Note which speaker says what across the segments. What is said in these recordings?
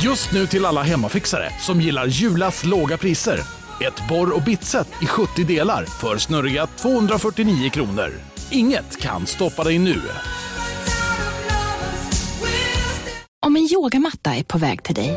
Speaker 1: Just nu till alla hemmafixare som gillar Julas låga priser. Ett borr och bitset i 70 delar för snurriga 249 kronor. Inget kan stoppa dig nu.
Speaker 2: Om en yogamatta är på väg till dig,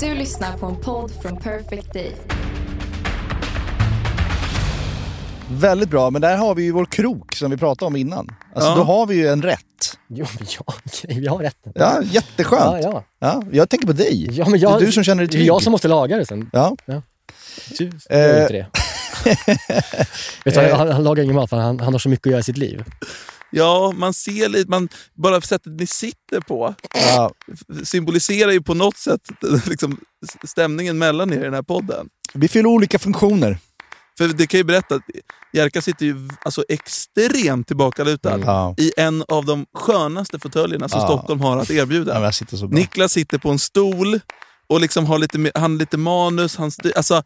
Speaker 3: Du lyssnar på en podd från Perfect Day.
Speaker 4: Väldigt bra, men där har vi ju vår krok som vi pratade om innan. Alltså,
Speaker 5: Ja.
Speaker 4: Då har vi ju en rätt.
Speaker 6: Jo, men ja, okej, jag har rätten.
Speaker 4: Ja,
Speaker 6: Ja,
Speaker 4: jätteskönt. Ja,
Speaker 6: ja.
Speaker 4: jag tänker på dig.
Speaker 6: Ja, men jag,
Speaker 4: det är du som känner dig
Speaker 6: Det är
Speaker 4: trygg.
Speaker 6: jag som måste laga det sen.
Speaker 4: Ja.
Speaker 6: Du gör ju inte det. Vet du,
Speaker 4: Eh.
Speaker 6: han, han lagar ingen mat för han, han har så mycket att göra i sitt liv.
Speaker 5: Ja, man ser lite. Man, bara sättet ni sitter på
Speaker 4: Ja.
Speaker 5: symboliserar ju på något sätt liksom, stämningen mellan er i den här podden.
Speaker 4: Vi fyller olika funktioner.
Speaker 6: Mm.
Speaker 5: För det kan jag ju berätta att Jerka sitter ju alltså, extremt tillbakalutad
Speaker 4: Mm. Ja.
Speaker 5: i en av de skönaste fåtöljerna som
Speaker 4: Ja.
Speaker 5: Stockholm har att
Speaker 4: Ja, men
Speaker 5: erbjuda.
Speaker 4: jag sitter så bra.
Speaker 5: Niklas sitter på en stol och liksom har lite, han har lite manus. Han styr, alltså,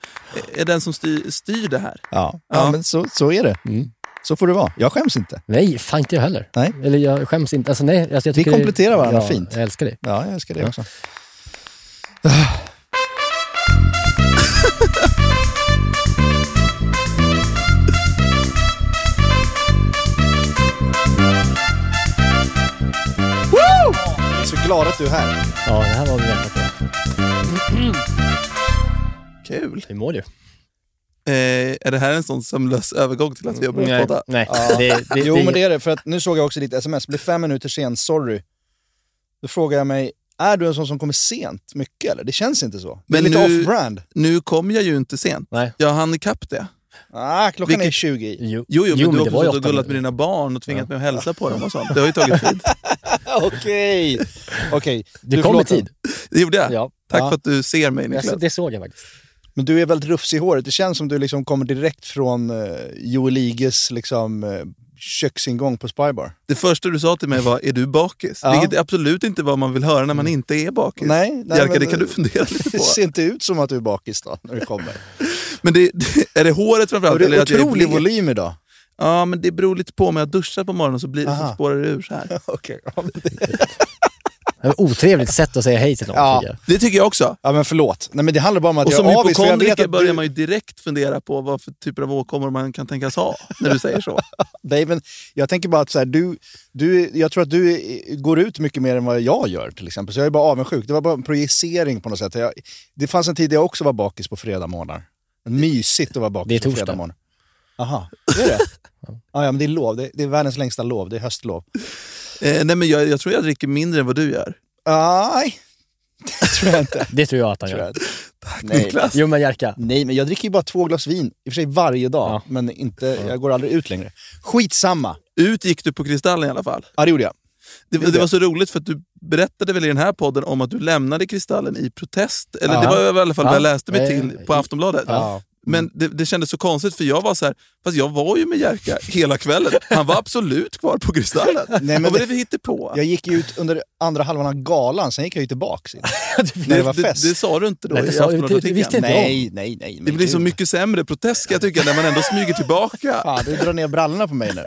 Speaker 5: är den som styr, styr det här.
Speaker 4: Ja. Ja,
Speaker 5: Ja.
Speaker 4: men så, så är det.
Speaker 6: Mm.
Speaker 4: Så får det vara. Jag skäms inte.
Speaker 6: Nej, fan inte jag heller.
Speaker 4: Nej.
Speaker 6: Eller jag skäms inte. Alltså, nej, alltså,
Speaker 4: Vi
Speaker 6: jag tycker det-
Speaker 4: kompletterar varandra
Speaker 6: ja,
Speaker 4: fint.
Speaker 6: Jag älskar dig.
Speaker 4: Ja, jag älskar det också. Woo! Jag är så glad att du är här.
Speaker 6: Ja, det här var vi väntat på.
Speaker 5: Kul!
Speaker 6: Hur mår du?
Speaker 5: Eh, är det här en sån sömlös övergång till att vi har börjat podda?
Speaker 6: Mm, nej. Det, det,
Speaker 4: Jo, men det är det. För att nu såg jag också ditt sms. Blev fem minuter sen, sorry. Då frågar jag mig, är du en sån som kommer sent mycket eller? Det känns inte så. Men
Speaker 5: Men
Speaker 4: lite
Speaker 5: nu-
Speaker 4: off-brand.
Speaker 5: Nu kom jag ju inte sent.
Speaker 6: Nej.
Speaker 5: Jag hann ikapp det.
Speaker 4: Ah, klockan
Speaker 5: Vilket-
Speaker 4: är 20 i.
Speaker 6: Jo,
Speaker 5: Jo, jo, men du
Speaker 6: men
Speaker 5: har
Speaker 6: det var ju
Speaker 5: också suttit
Speaker 6: åtta
Speaker 5: och gullat
Speaker 6: minuter.
Speaker 5: med dina barn och tvingat mig att hälsa på dem och sånt. Det har ju tagit tid.
Speaker 4: Okej. Okej.
Speaker 6: Du
Speaker 4: du
Speaker 6: kom i
Speaker 4: förlåter.
Speaker 6: tid.
Speaker 5: Det gjorde jag.
Speaker 6: Ja.
Speaker 5: Tack
Speaker 4: Ja. Alltså,
Speaker 5: för att du ser mig,
Speaker 6: Jag,
Speaker 5: Niklas.
Speaker 6: så- det såg jag faktiskt.
Speaker 4: Men du är väldigt rufsig i håret. Det känns som du liksom kommer direkt från eh, Joel Iges liksom, eh, köksingång på Spybar.
Speaker 5: Det första du sa till mig var, är du bakis?
Speaker 4: Ja. Mm.
Speaker 5: Vilket är absolut inte vad man vill höra när man inte är bakis.
Speaker 4: Nej, nej,
Speaker 5: Jerka,
Speaker 4: men-
Speaker 5: det kan du fundera lite
Speaker 4: Det
Speaker 5: på.
Speaker 4: ser inte ut som att du är bakis då, när du kommer.
Speaker 5: Men det, det- är det håret
Speaker 4: Och
Speaker 5: framförallt?
Speaker 4: det är
Speaker 5: att jag
Speaker 4: otrolig
Speaker 5: blek?
Speaker 4: volym idag.
Speaker 5: Ja, men det beror lite på. Om jag duschar på morgonen så, blir, så
Speaker 4: Aha.
Speaker 5: spårar det ur så här.
Speaker 4: Okej. ja, men-
Speaker 6: Det var ett otrevligt sätt att säga hej till någon.
Speaker 4: Ja.
Speaker 6: tycker jag.
Speaker 5: Det tycker jag också.
Speaker 4: Ja, men förlåt. Nej, men det handlar bara om att
Speaker 5: Och
Speaker 4: jag
Speaker 5: som
Speaker 4: är avis. för jag vet
Speaker 5: hypokondriker
Speaker 4: att
Speaker 5: börjar
Speaker 4: du-
Speaker 5: man ju direkt fundera på vad för typer av åkommor man kan tänkas ha när du säger så.
Speaker 4: Nej, men jag tänker bara att så här, du, du, jag tror att du eh, går ut mycket mer än vad jag gör till exempel. Så jag är bara avundsjuk. Det var bara en projicering på något sätt. Jag, det fanns en tid där jag också var bakis på fredagsmorgnar. Mysigt att vara
Speaker 6: Det är
Speaker 4: bakis på
Speaker 6: torsdag.
Speaker 4: fredagsmorgnar. Aha, det är det? ja, ja, men det är lov. Det, det är världens längsta lov. Det är höstlov.
Speaker 5: Eh, nej, men jag, jag tror jag dricker mindre än vad du gör.
Speaker 4: Nej, det tror jag inte.
Speaker 6: Det tror jag att han
Speaker 4: Tror jag
Speaker 6: gör.
Speaker 4: inte. Nej.
Speaker 5: Niklas.
Speaker 6: Jo, men Jerka.
Speaker 4: Nej, men jag dricker ju bara två glas vin. I och för sig varje dag,
Speaker 6: Ja.
Speaker 4: men inte, jag går aldrig ut längre. Skitsamma.
Speaker 5: Ut gick du på Kristallen i alla fall.
Speaker 4: Ja, det gjorde jag.
Speaker 5: Det,
Speaker 4: Gjorde
Speaker 5: det var
Speaker 4: jag.
Speaker 5: så roligt för att du berättade väl i den här podden om att du lämnade Kristallen i protest. Eller det
Speaker 6: Ja.
Speaker 5: var i alla fall vad
Speaker 6: Ja.
Speaker 5: jag läste mig
Speaker 6: Eh,
Speaker 5: till på Aftonbladet.
Speaker 4: Ja.
Speaker 5: Men det, det kändes så konstigt för jag var så här, fast jag var ju med Jerka hela kvällen. Han var absolut kvar på Kristallen.
Speaker 4: men
Speaker 5: Vad var det
Speaker 4: det-
Speaker 5: vi hittade på?
Speaker 4: Jag gick ju ut under andra halvan av galan, sen gick jag ju tillbaks. in. när det var fest.
Speaker 5: Det, sa du inte då
Speaker 6: Nej, det
Speaker 5: i
Speaker 6: sa- det- det
Speaker 5: Aftonbladet-artikeln.
Speaker 6: visste inte jag.
Speaker 4: nej, nej, nej.
Speaker 5: Det
Speaker 4: men
Speaker 5: blir så
Speaker 4: gud.
Speaker 5: mycket sämre protest ska jag tycka när man ändå smyger tillbaka.
Speaker 4: Fan, du drar ner brallorna på mig nu.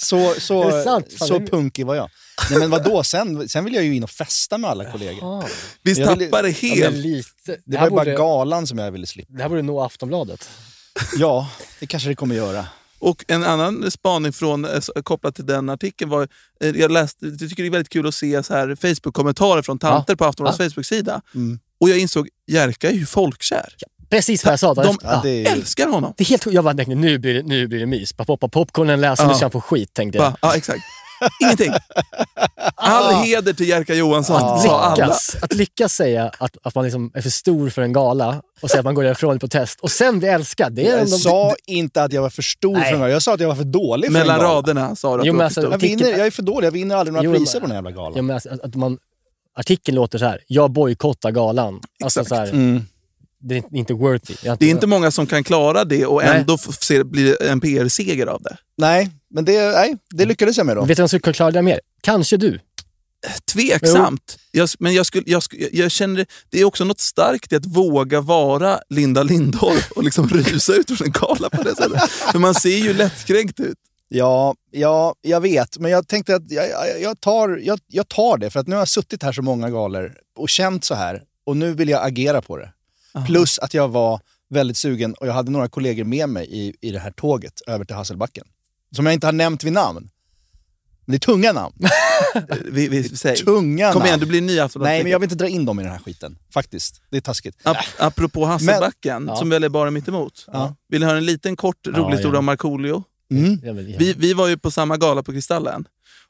Speaker 4: Så,
Speaker 6: Är
Speaker 4: så,
Speaker 6: det sant? Fan,
Speaker 4: så
Speaker 6: det-
Speaker 4: punkig var jag. Nej, men vadå, sen, sen vill jag ju in och festa med alla kollegor.
Speaker 6: Ah,
Speaker 5: Visst
Speaker 4: Jag vill-
Speaker 5: tappar det
Speaker 6: ja, men
Speaker 5: helt?
Speaker 6: lite.
Speaker 4: Det
Speaker 6: Det
Speaker 4: var
Speaker 6: här
Speaker 4: ju bara
Speaker 6: borde,
Speaker 4: galan som jag ville slippa.
Speaker 6: det här borde nå Aftonbladet.
Speaker 4: Ja, det kanske det kommer göra.
Speaker 5: Och en annan spaning från, eh, s- kopplat till den artikeln var, eh, jag, läste, jag tycker det är väldigt kul att se så här Facebook-kommentarer från tanter på Aftonbladets Facebook-sida.
Speaker 6: Mm.
Speaker 5: Och jag insåg, Jerka är ju folkkär.
Speaker 6: Precis vad jag sa.
Speaker 5: De
Speaker 4: Ja, det är ju...
Speaker 5: älskar honom.
Speaker 6: Det är helt sjukt. Jag bara tänkte, nu blir det, nu blir det mys. Bara poppa popcornen, läsa
Speaker 5: Ja.
Speaker 6: Lucian får skit, tänkte jag.
Speaker 5: Va? Ja, exakt. Ingenting. All heder till Jerka Johansson, sa alla.
Speaker 6: Ah. lyckas, att lyckas säga att, att man liksom är för stor för en gala och säga att man går därifrån i protest och sen bli älskad. Det är
Speaker 4: Jag
Speaker 6: ändå...
Speaker 4: sa inte att jag var för stor
Speaker 6: Nej.
Speaker 4: för en gala. Jag sa att jag var för dålig för en
Speaker 5: Mellan
Speaker 4: gala.
Speaker 5: raderna sa du att
Speaker 6: Jo,
Speaker 5: du
Speaker 6: men
Speaker 5: var
Speaker 6: alltså-
Speaker 5: för stor.
Speaker 4: Jag, vinner, jag är för dålig. Jag vinner aldrig några
Speaker 6: Jo, men-
Speaker 4: priser på den här jävla galan.
Speaker 6: Ja, men alltså, att, att man, artikeln låter så här. Jag bojkottar galan. Alltså, så här, Det är inte- inte worth it. Jag har
Speaker 5: Mm. Det är inte många som kan klara det och
Speaker 6: Nej.
Speaker 5: ändå f- se, blir det en PR-seger av det.
Speaker 4: Nej, men det, nej, det lyckades jag med då.
Speaker 6: Vet du vem som kan klara det mer? Kanske du.
Speaker 5: Mm. Tveksamt. Jag, men jag, skulle, jag, skulle, jag känner, det är också något starkt i att våga vara Linda Lindholm och liksom rusa ut från en gala på det sättet. För man ser ju lättkränkt ut.
Speaker 4: Ja, ja, jag vet. Men jag tänkte att jag, jag, jag, tar, jag, jag tar det. För att nu har jag suttit här så många galor och känt så här. Och nu vill jag agera på det. Plus att jag var väldigt sugen och jag hade några kollegor med mig i, i det här tåget över till Hasselbacken. Som jag inte har nämnt vid namn. Men det är tunga namn.
Speaker 5: Vi, vi, säg.
Speaker 4: Tunga
Speaker 5: Kom igen,
Speaker 4: namn.
Speaker 5: du blir ny Aftonbladet.
Speaker 4: Nej, men jag vill inte dra in dem i den här skiten. Faktiskt. Det är taskigt.
Speaker 5: Ap- apropå Hasselbacken,
Speaker 6: Men-
Speaker 5: som väl är bara mitt emot. Vill ni höra en liten kort rolig
Speaker 6: Ja,
Speaker 5: historia
Speaker 6: gärna.
Speaker 5: om Markoolio?
Speaker 4: Mm.
Speaker 6: Ja, men-
Speaker 5: Vi, vi var ju på samma gala på Kristallen.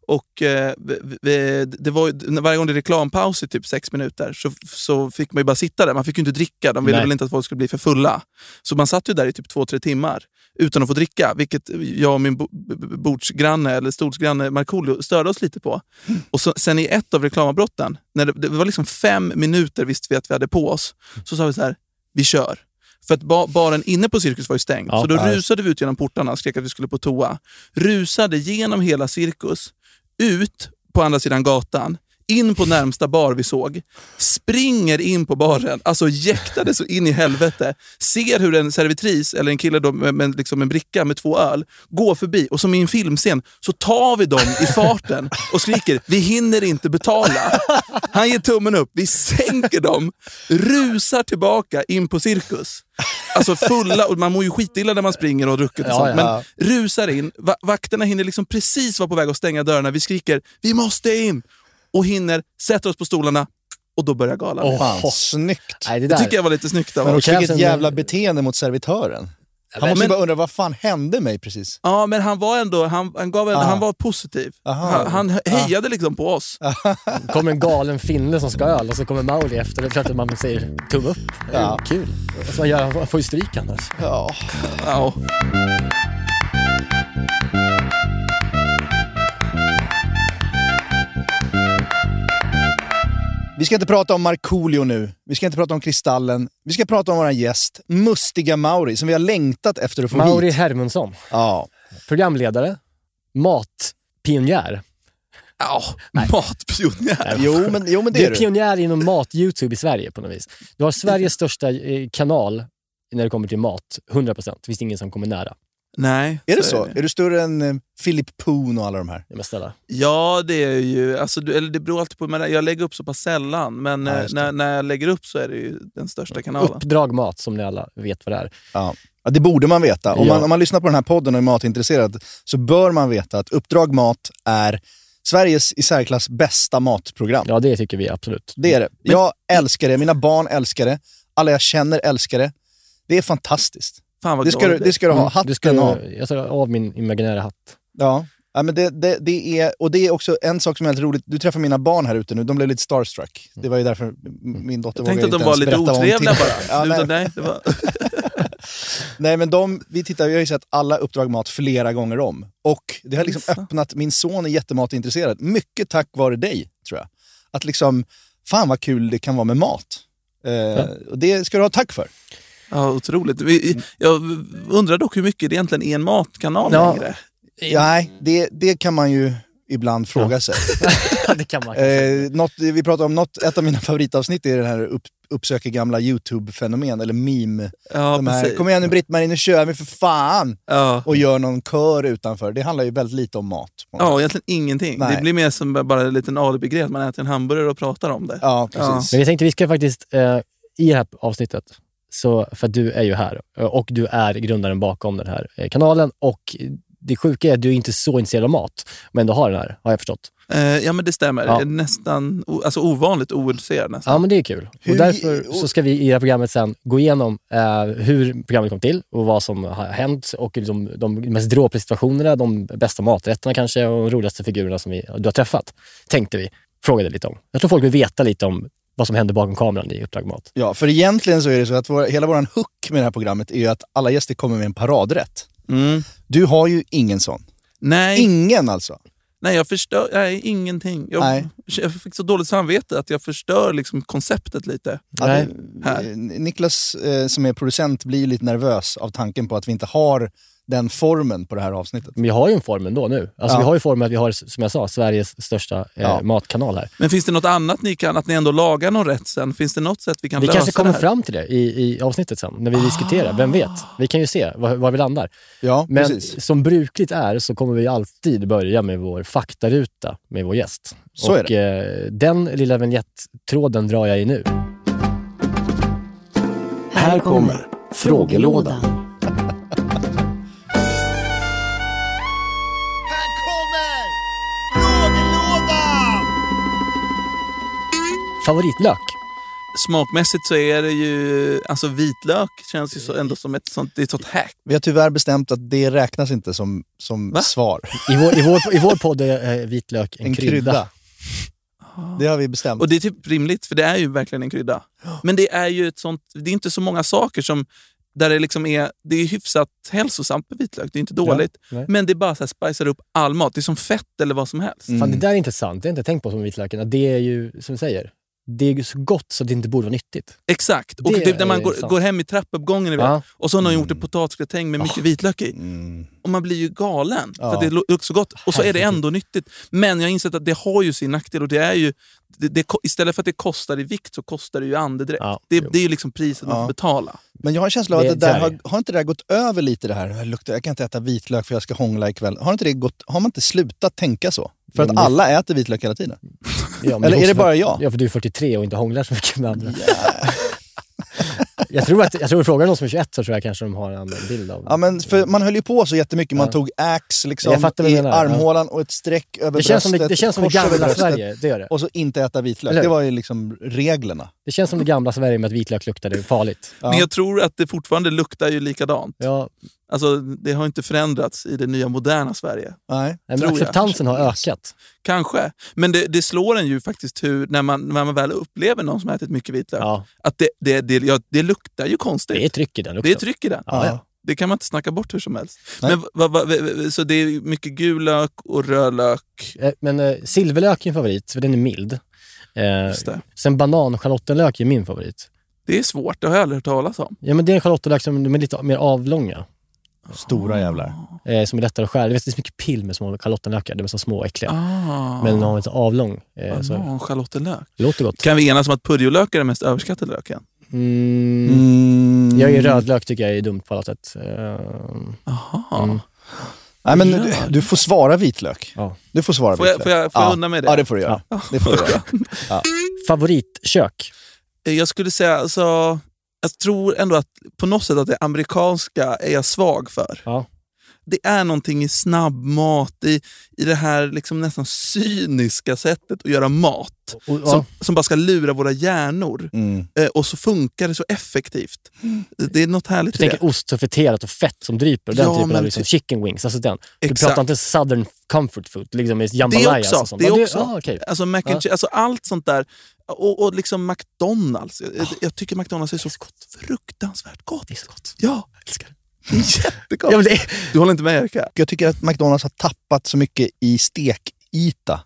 Speaker 5: Och eh, vi, vi, det var, ju- varje gång det är reklampaus i typ sex minuter så, så fick man ju bara sitta där. Man fick ju inte dricka. De ville
Speaker 6: Nej.
Speaker 5: väl inte att folk skulle bli för fulla. Så man satt ju där i typ två, tre timmar utan att få dricka. Vilket jag och min bo, b- b- bordsgranne, eller stordsgranne Markoolio störde oss lite på. Och så, sen i ett av reklamavbrotten, när det, det var liksom fem minuter visste vi att vi hade på oss, så sa vi så här, vi kör. För att ba, baren inne på Cirkus var ju stängd,
Speaker 6: Ja,
Speaker 5: så då
Speaker 6: ja.
Speaker 5: rusade vi ut genom portarna och skrek att vi skulle på toa. Rusade genom hela Cirkus, ut på andra sidan gatan, in på närmsta bar vi såg, springer in på baren, alltså jäktade så in i helvete, ser hur en servitris, eller en kille då med, med liksom en bricka med två öl, går förbi och som i en filmscen så tar vi dem i farten och skriker “Vi hinner inte betala”. Han ger tummen upp, vi sänker dem, rusar tillbaka in på cirkus. Alltså fulla, och man mår ju skitilla när man springer och har druckit och
Speaker 6: Ja,
Speaker 5: sånt,
Speaker 6: ja.
Speaker 5: men rusar in. Va- vakterna hinner liksom precis vara på väg att stänga dörrarna. Vi skriker “Vi måste in!” och hinner, sätter oss på stolarna och då börjar galan.
Speaker 6: Åh,
Speaker 4: Fan,
Speaker 6: åh.
Speaker 4: snyggt.
Speaker 6: Nej, det
Speaker 5: det
Speaker 6: där.
Speaker 5: tycker jag var lite snyggt av
Speaker 4: Men
Speaker 5: oss.
Speaker 4: också
Speaker 6: krävs
Speaker 4: vilket
Speaker 6: en-
Speaker 4: jävla beteende mot servitören. Han måste ju
Speaker 5: men-
Speaker 4: bara undra, vad fan hände mig precis?
Speaker 5: Ja, men han var ändå han, han gav en,
Speaker 4: Ah.
Speaker 5: han var positiv.
Speaker 4: Aha. Ah.
Speaker 5: Han, han hejade liksom på oss.
Speaker 6: kommer en galen finne som ska ha öl och så kommer Mauri efter. Det är klart att man säger tumme upp. Det är ju
Speaker 4: Ja.
Speaker 6: Kul. Alltså, man, gör, man får ju stryk annars.
Speaker 4: Ja.
Speaker 5: Ja.
Speaker 4: Vi ska inte prata om Markoolio nu. Vi ska inte prata om Kristallen. Vi ska prata om vår gäst, Mustiga Mauri, som vi har längtat efter att få
Speaker 6: Mauri
Speaker 4: hit.
Speaker 6: Hermundsson,
Speaker 4: Ja.
Speaker 6: programledare, matpionjär.
Speaker 5: Ja, matpionjär.
Speaker 4: Jo, men, jo, men det
Speaker 6: Du
Speaker 4: är
Speaker 6: är
Speaker 4: du.
Speaker 6: pionjär inom mat-YouTube i Sverige på något vis. Du har Sveriges största eh, kanal när det kommer till mat, 100 procent. Det finns ingen som kommer nära.
Speaker 5: Nej,
Speaker 4: Är det så? Är du större än eh, Philip Poon och alla de här?
Speaker 6: Nej, Men snälla.
Speaker 5: Ja, det är ju... Alltså, du, eller det beror alltid på. Men jag lägger upp så pass sällan, men
Speaker 4: Ja,
Speaker 5: eh,
Speaker 4: just det.
Speaker 5: när, när jag lägger upp så är det ju den största kanalen.
Speaker 6: Uppdrag mat, som ni alla vet vad det är.
Speaker 4: Ja. ja det borde man veta. Om, man,
Speaker 6: Ja.
Speaker 4: om man lyssnar på den här podden och är matintresserad så bör man veta att Uppdrag Mat är Sveriges i särklass bästa matprogram.
Speaker 6: Ja, det tycker vi absolut.
Speaker 4: Det är det. Jag älskar det. Mina barn älskar det. Alla jag känner älskar det. Det är fantastiskt.
Speaker 5: Fan vad
Speaker 4: Det ska,
Speaker 5: glad
Speaker 4: du,
Speaker 5: jag
Speaker 4: det ska du ha.
Speaker 6: Mm,
Speaker 4: Hatten
Speaker 6: du ska,
Speaker 4: av.
Speaker 6: Jag tar av min imaginära hatt.
Speaker 4: Ja. Ja, men det, det, det, är, och det är också en sak som är väldigt roligt. Du träffar mina barn här ute nu. De blev lite starstruck. Det var ju därför m- min dotter
Speaker 5: Jag
Speaker 4: vågade
Speaker 5: tänkte att
Speaker 4: inte
Speaker 5: de var
Speaker 4: ens
Speaker 5: lite
Speaker 4: berätta vad hon tittar-
Speaker 5: otrevliga bara.
Speaker 4: Ja, nej,
Speaker 5: Du, utan nej, det var,
Speaker 4: nej, men de, vi, tittar, vi har ju sett alla Uppdrag Mat flera gånger om. Och det har liksom
Speaker 5: Jaså.
Speaker 4: öppnat... Min son är jättematintresserad. Mycket tack vare dig, tror jag. Att liksom, fan vad kul det kan vara med mat. Eh, och det ska du ha tack för.
Speaker 5: ja, otroligt.
Speaker 6: Mm.
Speaker 5: Vi, jag undrar dock hur mycket det egentligen är en matkanal
Speaker 6: Ja.
Speaker 5: längre.
Speaker 4: Nej, det, det kan man ju ibland fråga sig.
Speaker 6: det kan man.
Speaker 4: Eh, något, vi pratade om något, ett av mina favoritavsnitt är den här upp, uppsöker gamla YouTube-fenomen, eller meme.
Speaker 5: Ja,
Speaker 4: De här,
Speaker 5: precis.
Speaker 4: Kom igen nu Britt-Marie, nu kör vi för fan!
Speaker 5: Ja.
Speaker 4: Och gör någon kör utanför. Det handlar ju väldigt lite om mat. på något
Speaker 5: Ja,
Speaker 4: sätt.
Speaker 5: egentligen ingenting.
Speaker 4: Nej.
Speaker 5: Det blir mer som bara en liten alibi-grej, att man äter en hamburgare och pratar om det.
Speaker 4: ja precis.
Speaker 6: Men jag tänkte vi ska faktiskt, eh, i det här avsnittet, så, för att du är ju här eh, och du är grundaren bakom den här eh, kanalen och det sjuka är att du är inte så intresserad av mat, men du har den här, har jag förstått.
Speaker 5: Eh, ja, men det stämmer.
Speaker 6: Ja.
Speaker 5: Eh, Nästan o- alltså ovanligt ointresserad nästan.
Speaker 6: Ja, men det är kul.
Speaker 4: Hur-
Speaker 6: och därför så ska vi i det här programmet sen gå igenom eh, hur programmet kom till och vad som har hänt och liksom de mest dråpliga situationerna, de bästa maträtterna kanske och de roligaste figurerna som vi, du har träffat, tänkte vi. Frågade lite om. Jag tror folk vill veta lite om vad som händer bakom kameran i Uppdrag Mat.
Speaker 4: Ja, för egentligen så är det så att vår, hela vår hook med det här programmet är ju att alla gäster kommer med en paradrätt.
Speaker 5: Mm.
Speaker 4: Du har ju ingen sån.
Speaker 5: Nej,
Speaker 4: Ingen alltså.
Speaker 5: nej, jag förstör nej, ingenting. Jag,
Speaker 4: Nej.
Speaker 5: jag fick så dåligt samvete att jag förstör liksom konceptet lite.
Speaker 6: Nej.
Speaker 5: Här.
Speaker 4: Eh, Niklas eh, som är producent blir ju lite nervös av tanken på att vi inte har den formen på det här avsnittet.
Speaker 6: Men vi har ju en form ändå nu. Alltså,
Speaker 4: Ja.
Speaker 6: Vi har ju formen att vi har, som jag sa, Sveriges största eh,
Speaker 4: Ja.
Speaker 6: matkanal här.
Speaker 5: Men finns det något annat ni kan, att ni ändå lagar någon rätt sen? Finns det något sätt vi kan
Speaker 6: Vi
Speaker 5: lösa
Speaker 6: kanske kommer
Speaker 5: det här?
Speaker 6: fram till det i, i avsnittet sen,
Speaker 4: Ah.
Speaker 6: när vi diskuterar. Vem vet? Vi kan ju se var, var vi landar.
Speaker 4: Ja,
Speaker 6: Men
Speaker 4: precis.
Speaker 6: som brukligt är så kommer vi alltid börja med vår faktaruta med vår gäst.
Speaker 4: Så är
Speaker 6: och eh, den lilla vignettråden drar jag i nu.
Speaker 7: Här kommer frågelådan.
Speaker 6: Favoritlök?
Speaker 5: Smakmässigt så är det ju... Alltså vitlök känns ju så,
Speaker 6: Mm.
Speaker 5: ändå som ett sånt, det är ett sånt hack.
Speaker 4: Vi har tyvärr bestämt att det räknas inte som, som
Speaker 5: Va?
Speaker 4: svar.
Speaker 6: I vår, i vår, i vår podd är eh, vitlök en, Ah.
Speaker 4: En krydda. Det har vi bestämt.
Speaker 5: Och det är typ rimligt, för det är ju verkligen en krydda. Men det är ju ett sånt, det är inte så många saker som där det liksom är, det är hyfsat hälsosamt med vitlök. Det är inte dåligt.
Speaker 6: nej.
Speaker 5: men det bara så här spicar upp all mat. Det är som fett eller vad som helst.
Speaker 4: Mm.
Speaker 6: Fan, det där är intressant. Det har jag inte tänkt på som vitlöken. Att Det är ju, som du säger, det är ju så gott så att det inte borde vara nyttigt.
Speaker 5: Exakt. Och
Speaker 6: Det
Speaker 5: typ när man
Speaker 6: är
Speaker 5: går,
Speaker 6: sant.
Speaker 5: går hem i trappuppgången ni vet,
Speaker 6: Ja. Mm. Ah.
Speaker 5: och så har någon gjort en potatisgratäng med mycket vitlök i.
Speaker 4: Mm.
Speaker 5: Och man blir ju galen för
Speaker 4: Ja.
Speaker 5: att det lu- luktar så gott. Och så är det ändå nyttigt. Men jag har insett att det har ju sin nackdel. Och det är ju, det, det, ko- istället för att det kostar i vikt så kostar det ju i andedräkt.
Speaker 6: Ja,
Speaker 5: det,
Speaker 6: jo.
Speaker 5: det är ju liksom priset man
Speaker 4: Ja.
Speaker 5: får betala.
Speaker 4: Men jag har en känsla av att
Speaker 6: Det
Speaker 4: det
Speaker 6: är
Speaker 4: där,
Speaker 6: där.
Speaker 4: har, har inte det där gått över lite det här? Jag, luktar, jag kan inte äta vitlök för jag ska hångla ikväll. Har, inte det gått, har man inte slutat tänka så? För
Speaker 6: Jo,
Speaker 4: att
Speaker 6: men-
Speaker 4: alla äter vitlök hela tiden.
Speaker 6: Ja, Mm. men
Speaker 4: Eller är
Speaker 6: också
Speaker 4: det
Speaker 6: för-
Speaker 4: bara jag?
Speaker 6: Ja, för du är 43 och inte hånglar så mycket med andra. jag tror att jag tror att frågar någon som är 21 så tror jag kanske de har en bild av
Speaker 4: Ja, men för man höll ju på så jättemycket. Man
Speaker 6: Ja.
Speaker 4: tog ax liksom,
Speaker 6: Jag fattar vad
Speaker 4: i
Speaker 6: du menar, ja.
Speaker 4: armhålan och ett streck över
Speaker 6: det känns som
Speaker 4: bröstet.
Speaker 6: det, det känns som det
Speaker 4: ett kors över
Speaker 6: gamla
Speaker 4: bröstet,
Speaker 6: Sverige. Det gör det.
Speaker 4: Och så inte äta vitlök.
Speaker 6: Eller hur?
Speaker 4: Det var ju liksom reglerna.
Speaker 6: Det känns som det gamla Sverige med att vitlök luktade farligt.
Speaker 4: Ja.
Speaker 5: Men jag tror att det fortfarande luktar ju likadant.
Speaker 6: Ja,
Speaker 5: Alltså, det har inte förändrats i det nya moderna Sverige.
Speaker 4: Nej.
Speaker 6: men
Speaker 5: Tror jag.
Speaker 6: acceptansen har ökat.
Speaker 5: Kanske. Men det, det slår en ju faktiskt hur, när man, när man väl upplever någon som har ätit mycket vitlök,
Speaker 6: Ja,
Speaker 5: att det, det, det, ja, det luktar ju konstigt.
Speaker 6: det är tryck i den
Speaker 5: Det är
Speaker 6: lukten.
Speaker 5: tryck i den.
Speaker 6: Ja, ja.
Speaker 5: Det kan man inte snacka bort hur som helst.
Speaker 4: Nej.
Speaker 5: Men, va, va, va, så det är mycket gul lök och röd lök.
Speaker 6: Eh, Men eh, silverlök är en favorit, för den är mild. Eh,
Speaker 5: Just det.
Speaker 6: sen bananschalottenlök är min favorit.
Speaker 5: det är svårt, det har jag aldrig hört talas om.
Speaker 6: Ja, men det är en schalottenlök som de är lite mer avlånga,
Speaker 4: Stora jävlar.
Speaker 6: eh, som är lättare att skära. Du vet, det är så mycket pill med små schalottenlökar. De är så små och äckliga.
Speaker 5: Ah,
Speaker 6: Men de har en så avlång. Eh, så
Speaker 5: bananschalottenlök.
Speaker 6: det låter gott.
Speaker 5: Kan vi enas om att purjolök är den mest överskattade löken?
Speaker 6: Mm.
Speaker 4: Mm.
Speaker 6: Jag är rödlök tycker jag är dumt på alla sätt. Eh,
Speaker 5: Aha.
Speaker 6: Mm.
Speaker 4: Nej, men du, du får svara vitlök.
Speaker 6: Ja.
Speaker 4: Du får svara
Speaker 5: Får jag-
Speaker 4: vitlök.
Speaker 5: får jag- får jag
Speaker 4: ja.
Speaker 5: undan mig det?
Speaker 4: Ja, det får du göra. Det får du göra.
Speaker 6: favoritkök?
Speaker 5: Eh, Jag skulle säga, alltså, jag tror ändå att på något sätt att det amerikanska är jag svag för.
Speaker 6: Ja.
Speaker 5: Det är någonting i snabbmat, i, i det här liksom nästan cyniska sättet att göra mat.
Speaker 6: Och, och,
Speaker 5: Som, som bara ska lura våra hjärnor.
Speaker 4: Mm.
Speaker 5: Eh, och så funkar det så effektivt. Det är något härligt
Speaker 6: Du
Speaker 5: i det.
Speaker 6: tänker oh ost och friterat och fett som dryper. Den
Speaker 5: Ja,
Speaker 6: typen
Speaker 5: men
Speaker 6: av liksom
Speaker 5: typ-
Speaker 6: chicken wings. Alltså den. Du
Speaker 5: Exakt.
Speaker 6: pratar inte southern comfort food, liksom med
Speaker 5: Det
Speaker 6: jambalayas
Speaker 5: också,
Speaker 6: och sånt.
Speaker 5: det
Speaker 6: Ja,
Speaker 5: också.
Speaker 6: Ja, okej.
Speaker 5: Alltså, mac and
Speaker 6: Ja.
Speaker 5: cheese, alltså allt sånt där. Och, och liksom McDonalds. Jag, jag tycker McDonalds är så fruktansvärt gott.
Speaker 6: Det är så gott.
Speaker 5: Ja,
Speaker 6: Jag älskar det.
Speaker 5: det är jättegott.
Speaker 6: Ja, men det.
Speaker 5: Du håller inte med Erika?
Speaker 4: Jag tycker att McDonalds har tappat så mycket i stekyta.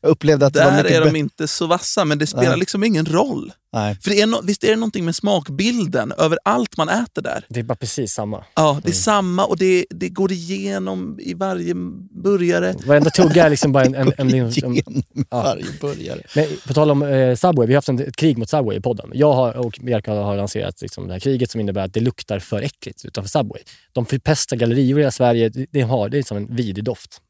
Speaker 4: Jag upplevde att det var
Speaker 5: Där
Speaker 4: mycket
Speaker 5: är de
Speaker 4: bättre.
Speaker 5: inte så vassa, men det spelar
Speaker 4: Nej.
Speaker 5: liksom ingen roll.
Speaker 4: Nej.
Speaker 5: För det är no- visst är det någonting med smakbilden över allt man äter där?
Speaker 6: det är bara precis samma.
Speaker 5: Ja,
Speaker 6: Mm.
Speaker 5: det är samma och det, det går igenom i varje burgare.
Speaker 6: Varenda tugga är liksom bara en... en, en, en, en
Speaker 4: Genom
Speaker 6: ja.
Speaker 4: varje burgare.
Speaker 6: men på tal om eh, Subway, vi har haft en, ett krig mot Subway i podden. Jag har, och Jerka har lanserat liksom, det här kriget som innebär att det luktar för äckligt utanför Subway. De förpestar gallerior i hela Sverige. Det, det, har, det är som en vidrig doft.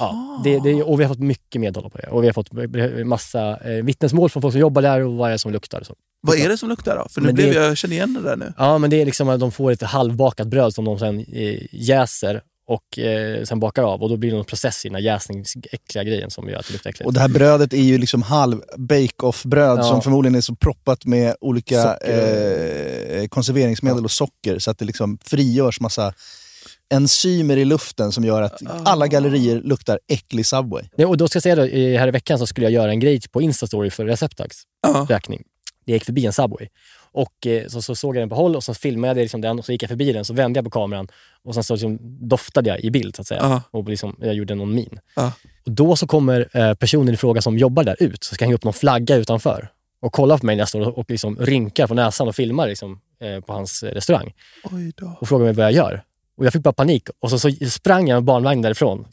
Speaker 6: Ja, det, det, och vi har fått mycket medhåll på det. Och vi har fått eh, massa eh, vittnesmål från folk som jobbar där och vad det är som luktar. och Så.
Speaker 5: Vad är det som luktar då? För nu
Speaker 6: Men
Speaker 5: blev
Speaker 6: det-
Speaker 5: jag, jag känner igen det där nu.
Speaker 6: Ja, men det är liksom att de får ett halvbakat bröd som de sen eh, jäser och eh, sen bakar av. Och då blir det någon process i den här jäsningsäckliga grejen som gör att det luktar äckligt.
Speaker 4: Och det här brödet är ju liksom halv bake-off-bröd
Speaker 6: Ja.
Speaker 4: som förmodligen är så proppat med olika
Speaker 6: Socker.
Speaker 4: eh, konserveringsmedel och socker så att det liksom frigörs massa enzymer i luften som gör
Speaker 5: Ah.
Speaker 4: att alla gallerier luktar äcklig Subway.
Speaker 6: Nej, och då ska jag säga då, eh, här i veckan så skulle jag göra en grej på Instastory för Receptax
Speaker 4: Ah.
Speaker 5: Ja.
Speaker 6: räkning. Jag gick förbi en Subway och eh, så, så såg jag den på håll och så filmade jag liksom den och så gick jag förbi den så vände jag på kameran och sen så liksom doftade jag i bild så att säga.
Speaker 5: Ja.
Speaker 6: Och liksom, jag gjorde någon min.
Speaker 4: Ah.
Speaker 5: Ja.
Speaker 6: Och då så kommer eh, personen i fråga som jobbar där ut, så ska hänga upp någon flagga utanför och kollar på mig när jag står och- och liksom rynkar på näsan och filmar liksom, eh, på hans eh, restaurang
Speaker 5: Oj då.
Speaker 6: och frågar mig vad jag gör. Och jag fick bara panik och så, så sprang jag med barnvagn därifrån.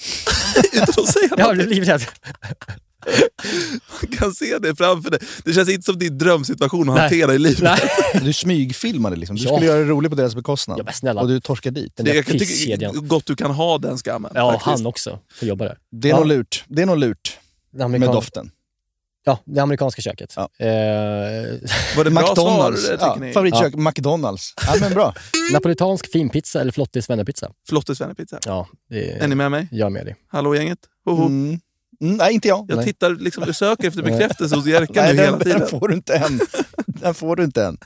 Speaker 5: Utan att säga
Speaker 6: Jag har
Speaker 5: något.
Speaker 6: blivit livrädd.
Speaker 5: Jag kan se det framför dig. Det känns inte som din drömsituation att
Speaker 6: Nej.
Speaker 5: hantera i livet.
Speaker 6: Nej.
Speaker 4: Du smygfilmade liksom. Du
Speaker 6: Ja.
Speaker 4: skulle göra det roligt på deras bekostnad.
Speaker 6: Ja, men snälla.
Speaker 4: Och du torskar dit.
Speaker 6: Den
Speaker 5: Det,
Speaker 6: där
Speaker 5: jag kan
Speaker 6: pisskedjan.
Speaker 5: tycka gott du kan ha den skammen.
Speaker 6: Ja,
Speaker 5: faktiskt.
Speaker 6: han också får jobba där.
Speaker 4: Det är
Speaker 6: Ja.
Speaker 4: nog lurt. Det är nog lurt
Speaker 6: Det
Speaker 4: med
Speaker 6: amerikan-
Speaker 4: doften.
Speaker 6: Ja, det amerikanska köket.
Speaker 4: Ja.
Speaker 6: Eh,
Speaker 5: Var det bra svar, eh,
Speaker 4: McDonalds.
Speaker 5: tycker
Speaker 4: ja,
Speaker 5: ni?
Speaker 4: favoritkök, McDonalds. Ja, men bra.
Speaker 6: napolitansk finpizza eller flottis vännerpizza?
Speaker 5: Flottes vännerpizza.
Speaker 6: Ja, det
Speaker 5: Är ni med mig?
Speaker 6: jag är med dig.
Speaker 5: Hallå gänget? Hoho.
Speaker 4: Mm. Mm, nej, inte jag.
Speaker 5: Jag
Speaker 6: Nej.
Speaker 5: tittar liksom, jag söker efter bekräftelse hos Jerka
Speaker 4: Nej,
Speaker 5: nu
Speaker 4: den,
Speaker 5: hela tiden.
Speaker 4: den får du inte än. Den får du inte än.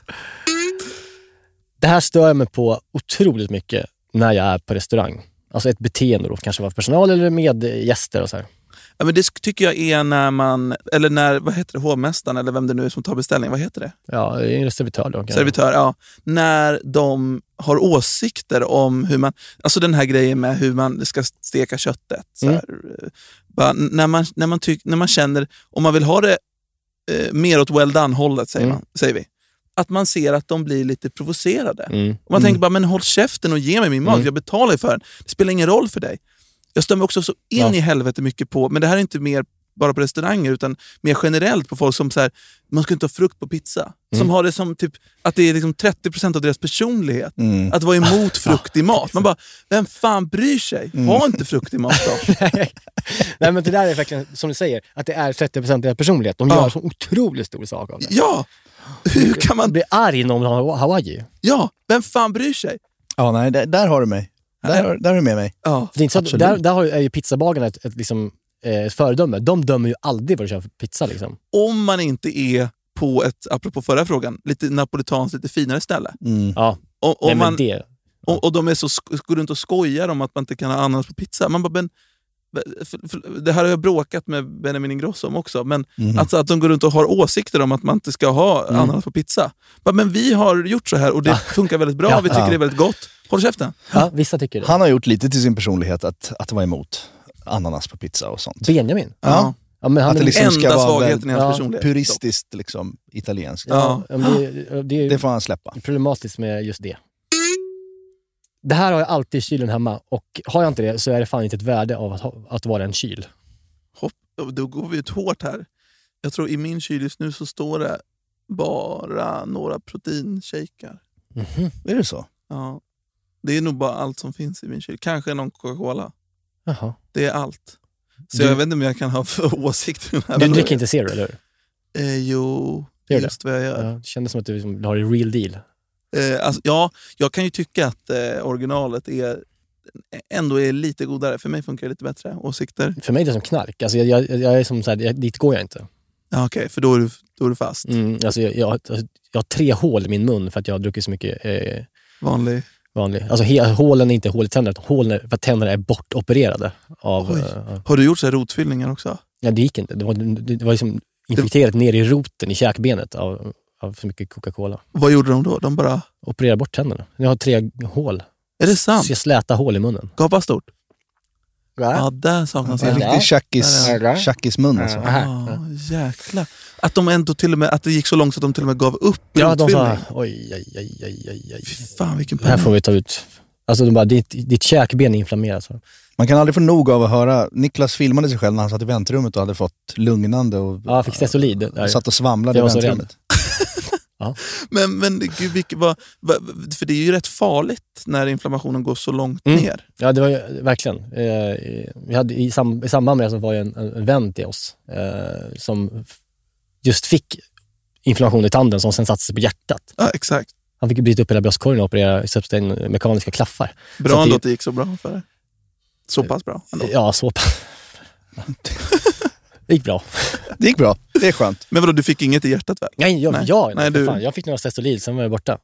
Speaker 6: Det här stör jag mig på otroligt mycket när jag är på restaurang. Alltså ett beteende då, kanske vara personal eller med gäster och så här.
Speaker 5: Ja, men det sk- tycker jag är när man, eller när, vad heter det, hovmästaren eller vem det nu är som tar beställning, vad heter det?
Speaker 6: Ja, det är en servitör då. kanske.
Speaker 5: Servitör, ja. När de har åsikter om hur man, alltså den här grejen med hur man ska steka köttet. Så
Speaker 6: Mm.
Speaker 5: här. eh, Bara, n- när, man, när, man tyck, när man känner, om man vill ha det eh, mer åt well done-hållet, säger,
Speaker 6: Mm.
Speaker 5: man, säger vi, att man ser att de blir lite provocerade.
Speaker 6: Mm.
Speaker 5: Och man tänker bara, men håll käften och ge mig min mat.
Speaker 6: Mm.
Speaker 5: Jag betalar ju för den. Det spelar ingen roll för dig. Jag stämmer också så in
Speaker 6: Ja.
Speaker 5: i helvete mycket på, men det här är inte mer bara på restauranger, utan mer generellt på folk som så här, man ska inte ha frukt på pizza.
Speaker 6: Mm.
Speaker 5: Som har det som typ, att det är liksom 30% av deras personlighet.
Speaker 6: Mm.
Speaker 5: Att vara emot frukt i mat. Man bara, vem fan bryr sig?
Speaker 6: Mm.
Speaker 5: Ha inte frukt i mat då.
Speaker 6: Nej, men det där är verkligen, som du säger, att det är 30 av deras personlighet. De gör
Speaker 5: Ja.
Speaker 6: så otroligt stor sak av det.
Speaker 5: ja! Hur kan
Speaker 6: Man
Speaker 5: man...
Speaker 6: blir arg när de har Hawaii.
Speaker 5: Ja, vem fan bryr sig?
Speaker 4: Ja, nej, där, där har du mig. Där, har- där är du med mig.
Speaker 5: Ja.
Speaker 6: För det är inte så att,
Speaker 4: Absolut.
Speaker 6: där där har ju, är ju pizzabagarna ett, ett, liksom, eh, ett föredöme. De dömer ju aldrig vad du köper för pizza. Liksom.
Speaker 5: Om man inte är på ett, apropå förra frågan, lite napolitanskt, lite finare ställe.
Speaker 4: Mm.
Speaker 6: Ja,
Speaker 5: Om, om
Speaker 6: nej, men
Speaker 5: man,
Speaker 6: det.
Speaker 5: Och, och de är så, sk- går runt och skojar om att man inte kan ha ananas på pizza. Man bara, men, för, för, det här har jag bråkat med Benjamin Ingrosso om också, men alltså att de går runt och har åsikter om att man inte ska ha ananas på pizza. Bara, men vi har gjort så här och det funkar väldigt bra,
Speaker 6: Ja.
Speaker 5: vi tycker det är väldigt gott. Håll käften.
Speaker 6: Ja, vissa tycker det.
Speaker 4: Han har gjort lite till sin personlighet att, att vara emot ananas på pizza och sånt.
Speaker 6: Benjamin?
Speaker 5: Ja.
Speaker 6: Ja, men han
Speaker 4: Att det
Speaker 6: är-
Speaker 4: liksom ska
Speaker 5: Enda
Speaker 4: vara
Speaker 5: svagheten i
Speaker 4: väl-
Speaker 5: hans
Speaker 6: ja,
Speaker 5: personlighet.
Speaker 4: Puristiskt liksom, italienskt.
Speaker 5: Ja.
Speaker 6: Ja, men det, det är
Speaker 4: Det får han släppa.
Speaker 6: problematiskt med just det. Det här har jag alltid i kylen hemma och har jag inte det så är det fan inte ett värde av att, ha, att vara en kyl.
Speaker 5: Hopp, då går vi ut hårt här. Jag tror i min kyl just nu så står det bara några proteinshakar.
Speaker 4: Är det så?
Speaker 5: Ja. Det är nog bara allt som finns i min kyl. Kanske någon Coca-Cola.
Speaker 6: Jaha.
Speaker 5: Det är allt. Så
Speaker 6: Du-
Speaker 5: jag vet inte om jag kan ha för åsikter i den här
Speaker 6: Du
Speaker 5: frågan.
Speaker 6: dricker inte Zero, eller hur?
Speaker 5: Eh, jo, det
Speaker 6: Gör
Speaker 5: är
Speaker 6: det?
Speaker 5: just vad jag gör.
Speaker 6: Ja, det kändes som att du liksom har det real deal.
Speaker 5: Eh, alltså, ja, jag kan ju tycka att eh, originalet är, ändå är lite godare. För mig funkar det lite bättre. Åsikter?
Speaker 6: För mig är det som knark. Alltså jag, jag, jag är som så här, jag, dit går jag inte.
Speaker 5: Ja, Okej, för då är, du, då är du fast.
Speaker 6: Mm, alltså jag, jag, alltså jag har tre hål i min mun för att jag har druckit så mycket eh,
Speaker 5: Vanlig.
Speaker 6: vanlig... Alltså he, hålen är inte hål i tänderna, utan hålen är för att tänderna är bortopererade. Av,
Speaker 5: Oj.
Speaker 6: eh,
Speaker 5: Har du gjort så här rotfyllningar också?
Speaker 6: ja, det gick inte. Det var, det, det var liksom infekterat ner i roten i käkbenet av, av för mycket Coca-Cola.
Speaker 5: Vad gjorde de då? De bara...
Speaker 6: operera bort tänderna. Jag har tre hål.
Speaker 5: Är det sant?
Speaker 6: Så jag släta hål i munnen.
Speaker 5: Gapa stort? Ja, där saknas
Speaker 4: Det är en
Speaker 5: det.
Speaker 4: riktig tjackis,
Speaker 6: Där är det.
Speaker 4: tjackismun alltså.
Speaker 5: Ah, jäklar. Att, de ändå till och med, att det gick så långt så att de till och med gav upp
Speaker 6: Ja, de
Speaker 5: rotfyllning.
Speaker 6: sa oj, oj, oj, oj, oj, oj.
Speaker 5: Fy fan vilken
Speaker 6: Det här
Speaker 5: panik.
Speaker 6: får vi ta ut. Alltså de bara, ditt, ditt käkben är inflammerat. sa de.
Speaker 4: Man kan aldrig få nog av att höra. Niklas filmade sig själv när han satt i väntrummet och hade fått lugnande och
Speaker 6: Ja, jag fick stesolid. Där.
Speaker 4: satt och svamlade i
Speaker 6: Jag var så
Speaker 4: väntrummet.
Speaker 5: Men, men gud, vilket, vad, vad, för det är ju rätt farligt när inflammationen går så långt
Speaker 6: Mm.
Speaker 5: ner.
Speaker 6: Ja, det var ju verkligen. Eh, vi hade, i, sam, I samband med det så var ju en, en en vän till oss eh, som f- just fick inflammation i tanden som sen satte sig på hjärtat.
Speaker 5: Ja, exakt.
Speaker 6: Han fick bryta upp hela bröstkorgen och operera i sepsis- mekaniska klaffar.
Speaker 5: Bra
Speaker 6: Så att
Speaker 5: ändå
Speaker 6: det-
Speaker 5: att det gick så bra för det. Så pass bra. Ändå.
Speaker 6: Ja, så... Det gick bra.
Speaker 4: Det gick bra. Det är skönt.
Speaker 5: Men vadå, du fick inget i hjärtat väl?
Speaker 6: Nej, jag,
Speaker 5: Nej.
Speaker 6: jag,
Speaker 5: Nej,
Speaker 6: för
Speaker 5: du-
Speaker 6: fan, jag fick några Stestolil, sen var jag borta.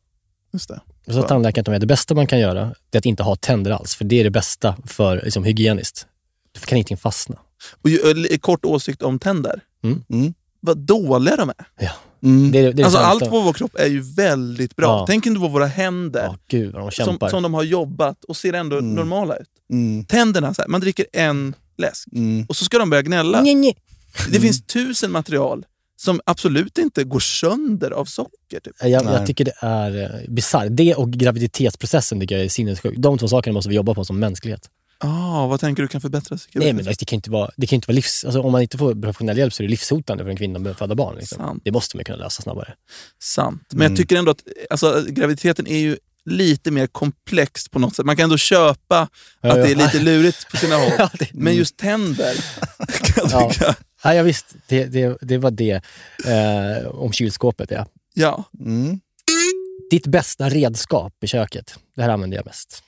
Speaker 5: Just det.
Speaker 6: Och så sa tandläkaren till mig, det bästa man kan göra det är att inte ha tänder alls, för det är det bästa för liksom, hygieniskt. Du kan ingenting fastna.
Speaker 5: Och ju, eh, kort åsikt om tänder.
Speaker 6: Mm.
Speaker 4: Mm.
Speaker 5: Vad dåliga de är.
Speaker 6: Det är, det är det
Speaker 5: Alltså,
Speaker 6: sämsta.
Speaker 5: allt på vår kropp är ju väldigt bra.
Speaker 6: Ja.
Speaker 5: Tänk inte på våra händer
Speaker 6: Ja, gud vad de
Speaker 5: som,
Speaker 6: kämpar.
Speaker 5: som de har jobbat och ser ändå
Speaker 4: Mm.
Speaker 5: normala ut.
Speaker 4: Mm.
Speaker 5: Tänderna, så här, man dricker en läsk
Speaker 4: Mm.
Speaker 5: och så ska de börja gnälla.
Speaker 6: Nej, nej.
Speaker 5: Det finns tusen material som absolut inte går sönder av socker. Typ.
Speaker 6: Eh, Jag,
Speaker 4: Nej.
Speaker 6: jag tycker det är eh, bisarrt. Det och graviditetsprocessen tycker jag är sinnessjuk. De två sakerna måste vi jobba på som mänsklighet.
Speaker 5: Ah, vad tänker du kan förbättras?
Speaker 6: Nej, men det kan ju inte vara, det kan ju inte vara livs... Alltså, om man inte får professionell hjälp så är det livshotande för en kvinna att börja föda barn. Liksom. Mm.
Speaker 5: Sant.
Speaker 6: Det måste man ju kunna lösa snabbare.
Speaker 5: Sant. Men jag tycker ändå att alltså, graviditeten är ju lite mer komplex på något sätt. Man kan ändå köpa
Speaker 6: Ja,
Speaker 5: att
Speaker 6: ja.
Speaker 5: det är lite lurigt på sina håll.
Speaker 6: Ja, det-
Speaker 5: Men just tänder kan jag
Speaker 6: Ja.
Speaker 5: tycka.
Speaker 6: Ja, ja, visst, det, det, det var det eh, om kylskåpet. Ja.
Speaker 5: Ja.
Speaker 4: Mm.
Speaker 6: Ditt bästa redskap i köket. Det här använder jag mest.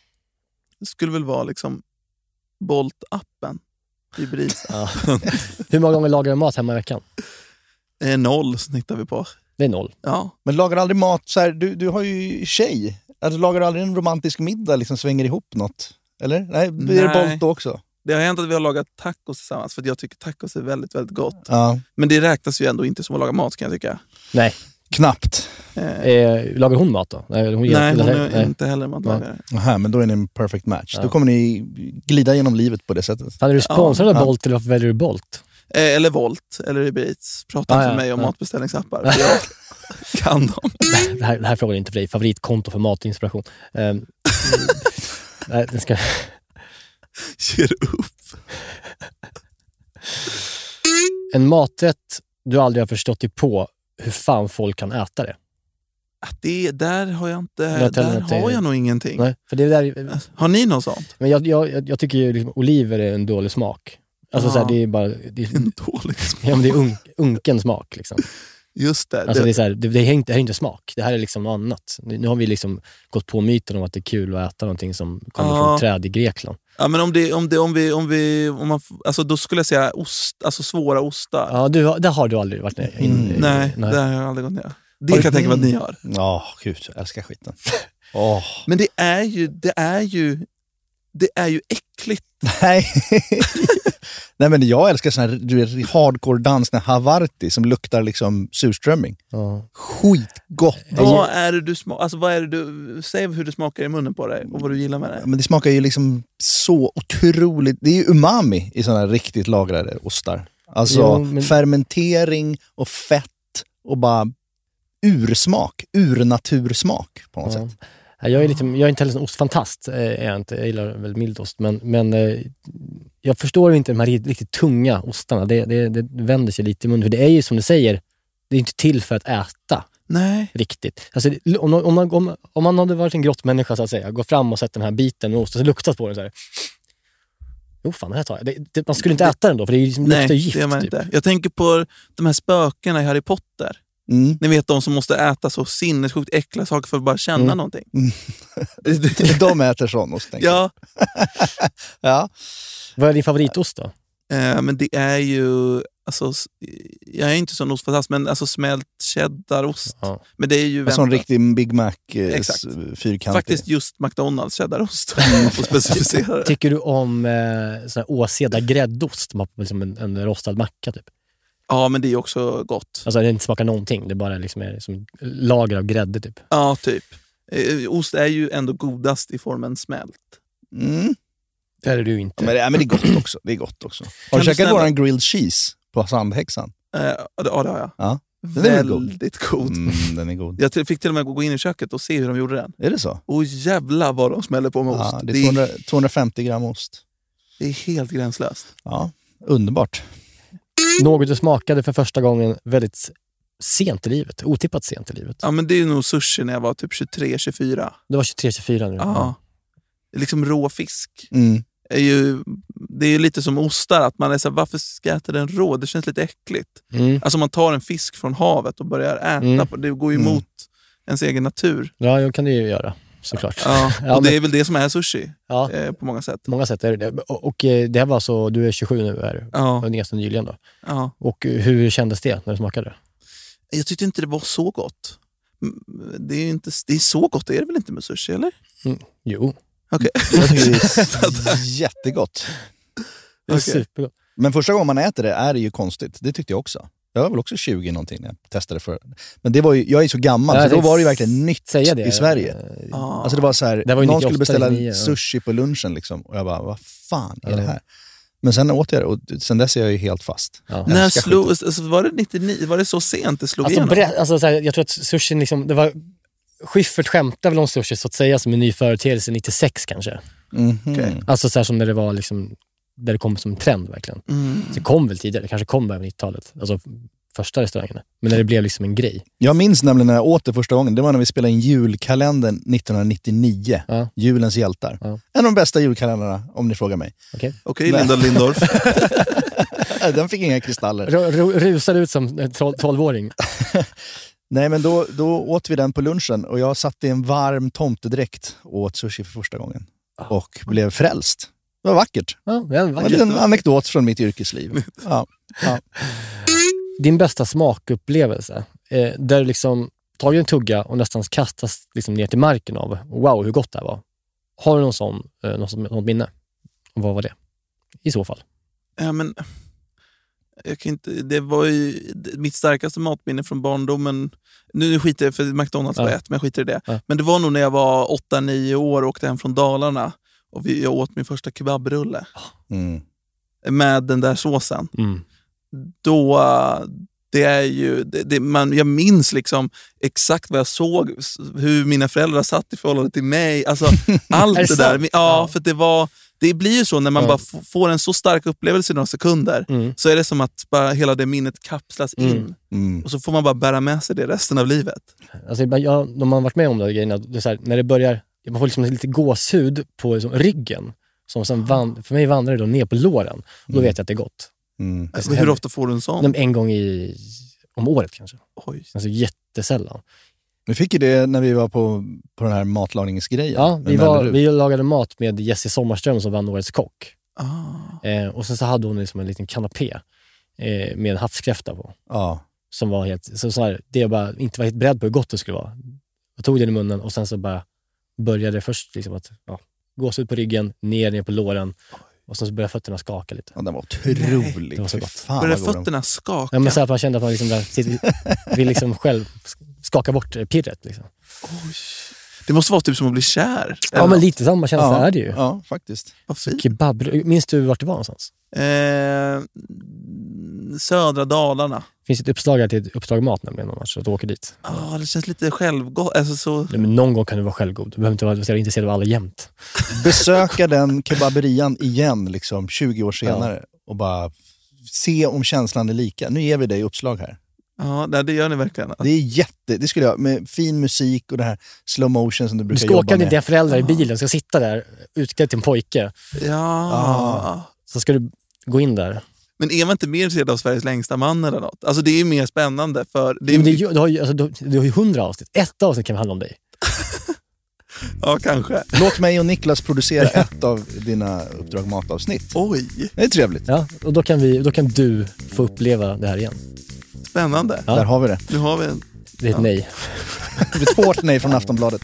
Speaker 5: Det skulle väl vara liksom Bolt-appen. Hybris.
Speaker 6: Ja. Hur många gånger lagar du mat hemma i veckan?
Speaker 5: Eh, noll snittar vi på.
Speaker 6: Det är noll.
Speaker 5: Ja.
Speaker 4: Men lagar aldrig mat, så här, du, du har ju tjej. Alltså, lagar du aldrig en romantisk middag, liksom svänger ihop något? Eller? Nej, blir det
Speaker 5: Nej.
Speaker 4: bolt då också?
Speaker 5: Det har hänt att vi har lagat tacos tillsammans, för att jag tycker tacos är väldigt, väldigt gott.
Speaker 4: Ja.
Speaker 5: Men det räknas ju ändå inte som att laga mat kan jag tycka.
Speaker 6: Nej.
Speaker 4: Knappt.
Speaker 6: Eh, lagar hon mat då? Nej, hon
Speaker 5: Nej, hon är
Speaker 6: nej.
Speaker 5: inte heller matlagare.
Speaker 4: Aha, men då är ni en perfect match.
Speaker 6: Ja.
Speaker 4: Då kommer ni glida genom livet på det sättet.
Speaker 6: Fan, är du sponsrad
Speaker 4: Ja.
Speaker 6: av Bolt eller varför väljer du Bolt?
Speaker 5: Eh, eller Volt, eller Hybris. Prata
Speaker 6: Ah,
Speaker 5: inte
Speaker 6: ja,
Speaker 5: med mig om
Speaker 6: ja.
Speaker 5: matbeställningsappar, för jag kan dem.
Speaker 6: Det här, det här frågar inte för dig. Favoritkonto för matinspiration. Ehm, nej, den ska,
Speaker 5: Ger upp.
Speaker 6: en maträtt du aldrig har förstått dig på hur fan folk kan äta det.
Speaker 5: Att det, där har jag inte...
Speaker 6: Jag tänder
Speaker 5: Där
Speaker 6: inte-
Speaker 5: har jag nog ingenting.
Speaker 6: Nej, för det där,
Speaker 5: Har ni något sånt?
Speaker 6: men jag, jag, jag- jag tycker ju liksom, oliver är en dålig smak. Alltså,
Speaker 5: Ja.
Speaker 6: så här, det är bara... Det är,
Speaker 5: En dålig smak.
Speaker 6: ja, men det är un, unken smak. Liksom.
Speaker 5: Just det.
Speaker 6: Alltså, det,
Speaker 5: det
Speaker 6: är så här, det, det, är inte, det här är inte smak. Det här är liksom något annat. Nu nu har vi liksom gått på myten om att det är kul att äta någonting som kommer
Speaker 5: Ja.
Speaker 6: från träd i Grekland.
Speaker 5: ja, men om, det, om, det, om vi... Om vi om man, f- alltså, då skulle jag säga ost, alltså svåra ostar.
Speaker 6: Ja, du, har- där har du aldrig varit in,
Speaker 4: Mm.
Speaker 6: in-
Speaker 5: Nej,
Speaker 6: nej.
Speaker 5: det har jag aldrig gått ner. Det kan jag tänka mig att ni har.
Speaker 4: Ja, gud. Jag älskar skiten. Åh.
Speaker 5: Men det är ju, det är ju, det är ju äckligt.
Speaker 4: Nej. Nej, men jag älskar sån här du vet, hardcore dans när Havarti som luktar liksom surströmming.
Speaker 6: Ja.
Speaker 4: Skitgott!
Speaker 5: Vad är det du smakar? Alltså, vad är det du, säg hur det smakar i munnen på dig och vad du gillar med det.
Speaker 4: Men det smakar ju liksom så otroligt... Det är ju umami i såna här riktigt lagrade ostar. Alltså
Speaker 6: Jo, men-
Speaker 4: fermentering och fett och bara ursmak.Urnatursmak på något
Speaker 6: Ja.
Speaker 4: sätt.
Speaker 6: Ja, Jag är, lite, jag är inte heller en ostfantast. eh, Är jag, inte. jag gillar väl mild ost, men, men eh, jag förstår inte de här riktigt tunga ostarna. Det, det, det vänder sig lite i munnen. För det är ju som du säger, det är inte till för att äta
Speaker 5: Nej.
Speaker 6: riktigt. Alltså, det- om, om, man, om, om man hade varit en grottmänniska, så att säga, gå fram och sett den här biten med ost och så luktat på den så här. Jo, fan, det här tar jag. Det, det, man skulle inte äta den då, för det är ju liksom,
Speaker 5: Nej,
Speaker 6: luktar ju gift.
Speaker 5: det gör man
Speaker 6: typ.
Speaker 5: inte. Jag tänker på de här spökena i Harry Potter.
Speaker 4: Mm.
Speaker 5: Ni vet de som måste äta så sinnessjukt äckliga saker för att bara känna
Speaker 6: Mm.
Speaker 5: någonting.
Speaker 4: De äter sån ost, tänker
Speaker 5: Ja,
Speaker 4: jag. Ja.
Speaker 6: Vad är din favoritost då?
Speaker 5: eh, men det är ju... Alltså, s- jag är inte sån ostfantast, men alltså smält cheddarost.
Speaker 6: Ja.
Speaker 5: Men det är ju
Speaker 4: En sån
Speaker 5: väntat.
Speaker 4: riktig Big Mac eh,
Speaker 5: Exakt.
Speaker 4: s- fyrkantig.
Speaker 5: Faktiskt just McDonalds cheddarost. om man får specificera det.
Speaker 6: Tycker du om eh, sån här åseda gräddost? Man har liksom en, en rostad macka typ.
Speaker 5: Ja, men det är också gott.
Speaker 6: Alltså det inte smakar någonting. Det bara liksom är som lager av grädde typ.
Speaker 5: Ja, typ. Eh, Ost är ju ändå godast i formen smält.
Speaker 4: Mm.
Speaker 6: Det är du
Speaker 4: Ja,
Speaker 6: inte.
Speaker 4: men, det, ja, men det är gott också. Det är gott också. Har du
Speaker 5: du
Speaker 4: käkat
Speaker 5: snälla-
Speaker 4: våran grilled cheese på Sandhäxan?
Speaker 5: Eh, Ja, det ja, det har jag.
Speaker 4: Ja. Den är väl god?
Speaker 5: Väldigt god.
Speaker 4: Mm, den är god.
Speaker 5: Jag till- fick till och med gå in i köket och se hur de gjorde den.
Speaker 4: Är det så?
Speaker 5: Och jävla vad de smäller på med ost.
Speaker 4: Ja, det är 200, 250 gram ost.
Speaker 5: det är helt gränslöst.
Speaker 4: Ja, underbart. Mm.
Speaker 6: Något du smakade för första gången väldigt sent i livet. Otippat sent i livet.
Speaker 5: Ja, men det är nog sushi när jag var typ 23-24.
Speaker 6: Du var 23-24 nu.
Speaker 5: Ja. Liksom rå fisk.
Speaker 4: Mm.
Speaker 5: Är ju, det är ju lite som ostar, att man är så här, varför ska jag äta den rå? Det känns lite äckligt.
Speaker 6: Mm.
Speaker 5: Alltså om man tar en fisk från havet och börjar äta
Speaker 6: Mm.
Speaker 5: på det går ju
Speaker 4: Mm.
Speaker 5: emot ens egen natur.
Speaker 6: Ja, jag kan det ju göra. såklart.
Speaker 5: Ja,
Speaker 6: Ja,
Speaker 5: och det
Speaker 6: men-
Speaker 5: är väl det som är sushi
Speaker 6: Ja.
Speaker 5: eh, på många sätt.
Speaker 6: På många sätt är det det. Och, och eh, det här var alltså, du är 27 nu, är du?
Speaker 5: Ja,
Speaker 6: Det är ganska nyligen då.
Speaker 5: ja.
Speaker 6: Och eh, hur kändes det när du smakade?
Speaker 5: Jag tyckte inte det var så gott. Mm, Det är ju inte det är så gott, är det väl inte med sushi? eller?
Speaker 6: Jo,
Speaker 4: Jag tycker det är jättegott.
Speaker 6: det är
Speaker 5: Okej.
Speaker 6: supergott.
Speaker 4: Men första gången man äter det är det ju konstigt. Det tyckte jag också. Jag var väl också 20 någonting när jag testade för. Men det var ju, jag är så gammal,
Speaker 6: Ja,
Speaker 4: så då
Speaker 6: jag
Speaker 4: var det ju
Speaker 6: tänkte
Speaker 4: verkligen nytt
Speaker 6: Säga det.
Speaker 4: i Sverige.
Speaker 6: Eh,
Speaker 5: Ja.
Speaker 4: Alltså det var så här,
Speaker 6: Det var ju
Speaker 4: någon
Speaker 6: 98,
Speaker 4: skulle beställa
Speaker 6: 99, ja.
Speaker 4: sushi på lunchen liksom, och jag bara, vad fan är det
Speaker 6: Ja.
Speaker 4: här? Men sen åt jag det och sen dess är jag ju helt fast.
Speaker 6: Ja.
Speaker 5: När
Speaker 4: älskar
Speaker 5: slog, alltså, var det 99? Var det så sent det slog
Speaker 6: Alltså,
Speaker 5: igenom?
Speaker 6: bre- alltså, så här, jag tror att sushin, liksom, det var, Schyffert skämtade väl om sushi så att säga som en ny företeelse 96 kanske.
Speaker 4: Mhm.
Speaker 5: Okej.
Speaker 6: Alltså så här som när det var liksom, där det kom som trend verkligen.
Speaker 5: Mm.
Speaker 6: Så det kom väl tidigare, det kanske kom början av 90-talet. Alltså första restaurangerna. Men när det blev liksom en grej.
Speaker 4: Jag minns nämligen när jag åt det första gången, det var när vi spelade in julkalendern 1999.
Speaker 6: Ja.
Speaker 4: Julens hjältar.
Speaker 6: Ja.
Speaker 4: En av de bästa julkalendrarna, om ni frågar mig.
Speaker 5: Okej, Linda Lindorff.
Speaker 4: Äh, Den fick inga kristaller.
Speaker 6: Ru- ru- Rusade ut som en tol- 12-åring.
Speaker 4: Nej, men då, då åt vi den på lunchen och jag satt i en varm tomtedräkt och åt sushi för första gången.
Speaker 6: Ah.
Speaker 4: Och blev frälst. Det var vackert.
Speaker 6: Ja, men
Speaker 4: En
Speaker 6: vackert.
Speaker 4: liten anekdot från mitt yrkesliv. Ja.
Speaker 6: Din bästa smakupplevelse, eh, där du liksom tar ju en tugga och nästan kastas liksom ner till marken av wow, hur gott det här var. Har du någon sån, eh, något, som- något minne? Och vad var det? I så fall.
Speaker 5: Ja, men, jag kan inte, det var ju det- mitt starkaste matminne från barndomen. Nu nu skiter jag för McDonalds var
Speaker 6: Ja.
Speaker 5: ett, men jag skiter i det.
Speaker 6: Ja.
Speaker 5: Men det var nog när jag var 8-9 år och åkte hem från Dalarna. Och vi, jag åt min första kebabrulle
Speaker 4: Mm.
Speaker 6: Ah.
Speaker 5: med den där såsen.
Speaker 6: Mm.
Speaker 5: Då, eh, det är ju, det, det, man, jag minns liksom exakt vad jag såg, s- hur mina föräldrar satt i förhållande till mig. Alltså, allt
Speaker 6: Är det
Speaker 5: det, där.
Speaker 6: sant?
Speaker 5: Ja,
Speaker 6: Ja.
Speaker 5: för det, var, det blir ju så när man
Speaker 6: Ja.
Speaker 5: bara f- får en så stark upplevelse i några sekunder
Speaker 6: Mm.
Speaker 5: så är det som att bara hela det minnet kapslas in.
Speaker 6: Mm.
Speaker 4: Mm.
Speaker 5: Och så får man bara bära med sig det resten av livet.
Speaker 6: Alltså, ibland- jag, när man har varit med om de här grejerna, det är så här, när det börjar, man får liksom lite gåshud på liksom, ryggen. Som sen van, för mig vandrar det då ner på låren. Och då vet jag att det är gott.
Speaker 4: Mm.
Speaker 5: Alltså,
Speaker 6: det
Speaker 5: hur
Speaker 6: händer.
Speaker 5: ofta får du en sån?
Speaker 6: Men En gång i, om året kanske.
Speaker 5: Oj.
Speaker 6: Alltså jättesällan.
Speaker 4: Vi fick ju det när vi var på, på den här matlagningsgrejen.
Speaker 6: Ja,
Speaker 4: med
Speaker 6: vi, var,
Speaker 4: Mellerud.
Speaker 6: vi lagade mat med Jessie Sommarström som vann Årets kock.
Speaker 5: Ah.
Speaker 6: Eh, och sen så hade hon liksom en liten kanapé eh, med en havskräfta på.
Speaker 4: Ja.
Speaker 6: Som var helt, så, så här, det jag bara inte var helt beredd på hur gott det skulle vara. Jag tog den i munnen och sen så bara började det först liksom att ja, gås ut på ryggen, ner, ner på låren och sen så började fötterna skaka lite.
Speaker 4: ja, den var otrolig.
Speaker 6: det var så
Speaker 4: Fy
Speaker 6: gott.
Speaker 4: Fan,
Speaker 5: Börjar
Speaker 4: vad god den
Speaker 5: fötterna skaka?
Speaker 6: Ja, men så här, att man kände att man liksom där, sitter- vill liksom själv skaka bort eh, pirret. Liksom.
Speaker 5: Det måste vara typ som att bli kär.
Speaker 6: Ja, men lite samma känsla
Speaker 4: ja,
Speaker 6: är det ju.
Speaker 4: Ja, faktiskt.
Speaker 5: Vad fint.
Speaker 6: Kebab, minns du vart det var någonstans?
Speaker 5: Eh, södra Dalarna.
Speaker 6: Det finns ett uppslag här till ett uppslag mat nämligen om man ska åka dit.
Speaker 5: Ah, det känns lite självgott. Alltså, så...
Speaker 6: Nej, men någon gång kan du vara självgod. Du behöver inte vara så jävla intresserad av alla jämt.
Speaker 4: Besöka den kebaberian igen, liksom 20 år senare och bara se om känslan är lika. Nu ger vi dig uppslag här.
Speaker 5: Ja, nej, det gör ni verkligen.
Speaker 4: Det är jätte... Det skulle jag... Med fin musik och det här slow motion som du
Speaker 6: Du
Speaker 4: brukar
Speaker 6: ska åka
Speaker 4: jobba
Speaker 6: med
Speaker 4: med.
Speaker 6: dina föräldrar i bilen, ska sitta där utklädd till en pojke.
Speaker 5: Ja.
Speaker 4: Ah.
Speaker 6: Så ska du gå in där.
Speaker 5: Men är man inte mer intresserad av Sveriges längsta man eller något? Alltså, det är ju mer spännande. för... Det är...
Speaker 6: Men det, är ju- du, har ju, alltså, du, du har ju hundra avsnitt. Ett avsnitt kan handla om dig.
Speaker 5: Ja, kanske.
Speaker 4: Låt mig och Niklas producera ett av dina Uppdrag Mat-avsnitt.
Speaker 5: Oj,
Speaker 4: Det är trevligt.
Speaker 6: Ja, och då kan, vi, då kan du få uppleva det här igen.
Speaker 5: spännande.
Speaker 6: Ja.
Speaker 4: Där har vi det.
Speaker 5: Nu har vi en...
Speaker 6: Det är ett nej.
Speaker 4: Det blir ett hårt nej från Aftonbladet.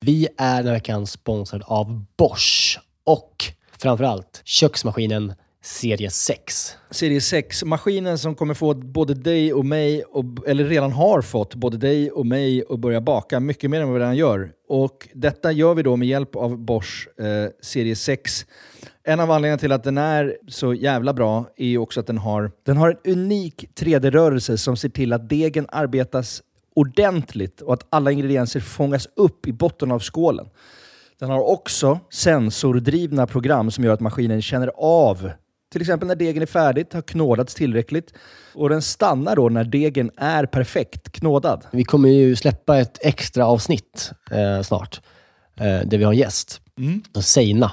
Speaker 6: Vi är den här veckan sponsrade av Bosch och framförallt köksmaskinen serie 6.
Speaker 8: Serie 6. Maskinen som kommer få både dig och mig, och, eller redan har fått både dig och mig att börja baka mycket mer än vad vi redan gör. Och detta gör vi då med hjälp av Bosch eh, Serie 6. En av anledningarna till att den är så jävla bra är ju också att den har, den har en unik 3D-rörelse som ser till att degen arbetas ordentligt och att alla ingredienser fångas upp i botten av skålen. Den har också sensordrivna program som gör att maskinen känner av till exempel när degen är färdigt, har knådats tillräckligt och den stannar då när degen är perfekt knådad.
Speaker 6: Vi kommer ju släppa ett extra avsnitt eh, snart eh, där vi har en gäst. Mm. Seina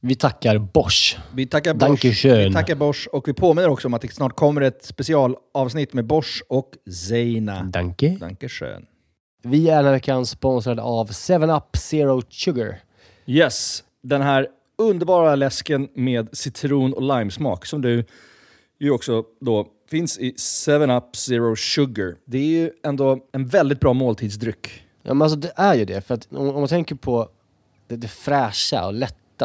Speaker 6: Vi tackar Bosch.
Speaker 8: Vi tackar Bosch.
Speaker 6: Dankeschön.
Speaker 8: Vi tackar Bosch och vi påminner också om att det snart kommer ett specialavsnitt med Bosch och Zeina.
Speaker 6: Danke.
Speaker 8: Dankeschön.
Speaker 6: Vi är den här veckan sponsrade av 7up Zero Sugar.
Speaker 8: Yes, den här underbara läsken med citron och limesmak som du ju också då finns i 7-Up Zero Sugar. Det är ju ändå en väldigt bra måltidsdryck.
Speaker 6: Ja, men alltså det är ju det. För att om, om man tänker på det, det fräscha och lätta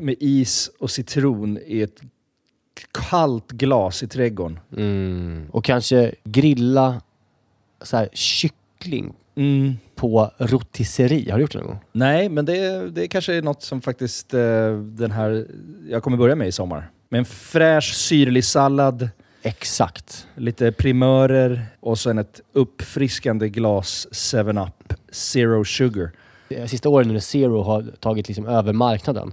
Speaker 8: med is och citron i ett kallt glas i trädgården.
Speaker 6: Och kanske grilla så här, kyckling
Speaker 8: Mm.
Speaker 6: på rotisserie. Har du gjort det någon gång?
Speaker 8: Nej, men det, det kanske är något som faktiskt eh, den här, jag kommer börja med i sommar. Med en fräsch syrlig sallad,
Speaker 6: Exakt.
Speaker 8: lite primörer och sen ett uppfriskande glas 7-Up Zero Sugar.
Speaker 6: Eh, Sista åren när Zero har tagit liksom över marknaden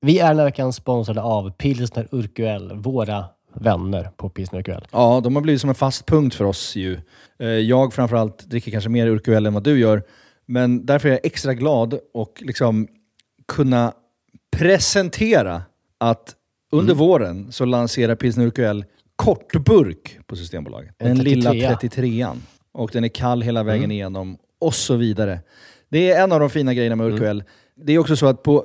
Speaker 6: Vi är den här veckan sponsrade av Pilsner Urquell, våra vänner på Pilsner Urquell.
Speaker 8: Ja, de har blivit som en fast punkt för oss ju. Eh, Jag framförallt dricker kanske mer Urquell än vad du gör, men därför är jag extra glad och liksom kunna presentera att under våren så lanserar Pilsner Urquell kortburk på Systembolaget. Den
Speaker 6: En
Speaker 8: lilla
Speaker 6: 33.
Speaker 8: 33an. Och den är kall hela vägen igenom och så vidare. Det är en av de fina grejerna med Urquell. Det är också så att på,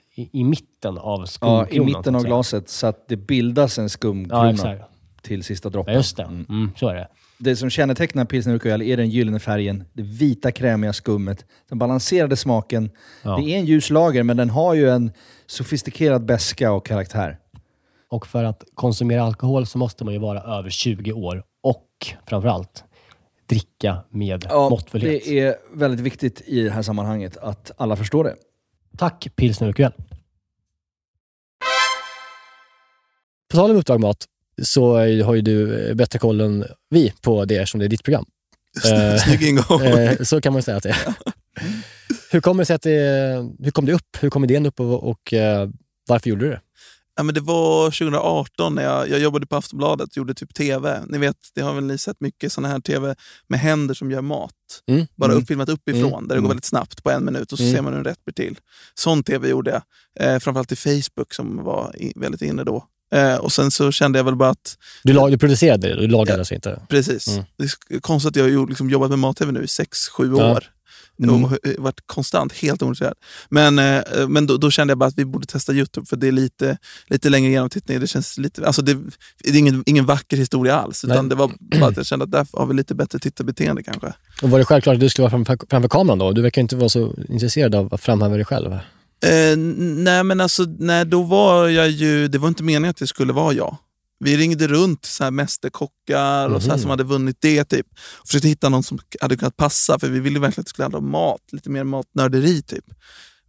Speaker 6: i, i mitten av
Speaker 8: Ja,
Speaker 6: skumkronan.
Speaker 8: I mitten
Speaker 6: så
Speaker 8: av
Speaker 6: att säga.
Speaker 8: glaset så att det bildas en
Speaker 6: Ja,
Speaker 8: skumkrona
Speaker 6: exakt.
Speaker 8: till sista
Speaker 6: Ja,
Speaker 8: droppen.
Speaker 6: just det. Mm, så är det.
Speaker 8: Det som kännetecknar pilsner urquell är den gyllene färgen, det vita krämiga skummet, den balanserade smaken.
Speaker 6: Ja.
Speaker 8: Det är en ljus lager, men den har ju en sofistikerad beska och karaktär.
Speaker 6: Och för att konsumera alkohol så måste man ju vara över 20 år och framförallt dricka med måttfullhet.
Speaker 8: det är väldigt viktigt i det här sammanhanget att alla förstår det.
Speaker 6: Tack Pilsner Urquell. På tal om upptagmat mat så är- har ju du eh, bättre koll än vi på det eftersom det är ditt program. Eh,
Speaker 5: Snygg ingång.
Speaker 6: Eh, så kan man säga att det är. Hur kommer det sig att det, hur kom det upp? Hur kom idén upp och, och eh, varför gjorde du det?
Speaker 5: Ja, men det var 2018 när jag, jag jobbade på Aftonbladet gjorde typ tv. Ni vet, det har väl ni sett mycket såna här tv med händer som gör mat.
Speaker 6: Mm.
Speaker 5: Bara
Speaker 6: Mm.
Speaker 5: uppfilmat uppifrån, där det går väldigt snabbt på en minut och så
Speaker 6: Mm.
Speaker 5: ser man hur en rätt blir till. Sån tv gjorde jag. Eh, framförallt till Facebook som var i, väldigt inne då. Eh, och sen så kände jag väl bara att
Speaker 6: Du, lag, du producerade det, du lagade
Speaker 5: Ja.
Speaker 6: alltså inte?
Speaker 5: Precis.
Speaker 6: Mm.
Speaker 5: Det är sk- konstigt att jag har gjort- liksom jobbat med mat-tv nu i sex, sju
Speaker 6: Ja.
Speaker 5: år. Mm. Och eh, varit konstant helt ointresserad. Men, eh, men då, då kände jag bara att vi borde testa YouTube för det är lite, lite längre genomtittning. Det, känns lite, alltså det, det är ingen, ingen vacker historia alls. Utan
Speaker 6: Nej.
Speaker 5: det var bara att jag kände att där har vi lite bättre tittarbeteende kanske.
Speaker 6: Och var det självklart att du skulle vara framför, framför kameran då? Du verkar ju inte vara så intresserad av att framhäva dig själv.
Speaker 5: Eh, n- nej, men alltså, nej, då var jag ju... Det var inte meningen att det skulle vara jag. Vi ringde runt så här mästerkockar och så här
Speaker 6: Mhm.
Speaker 5: som hade vunnit det. Typ. Och försökte hitta någon som hade kunnat passa, för vi ville verkligen att det skulle handla om mat. Lite mer matnörderi typ.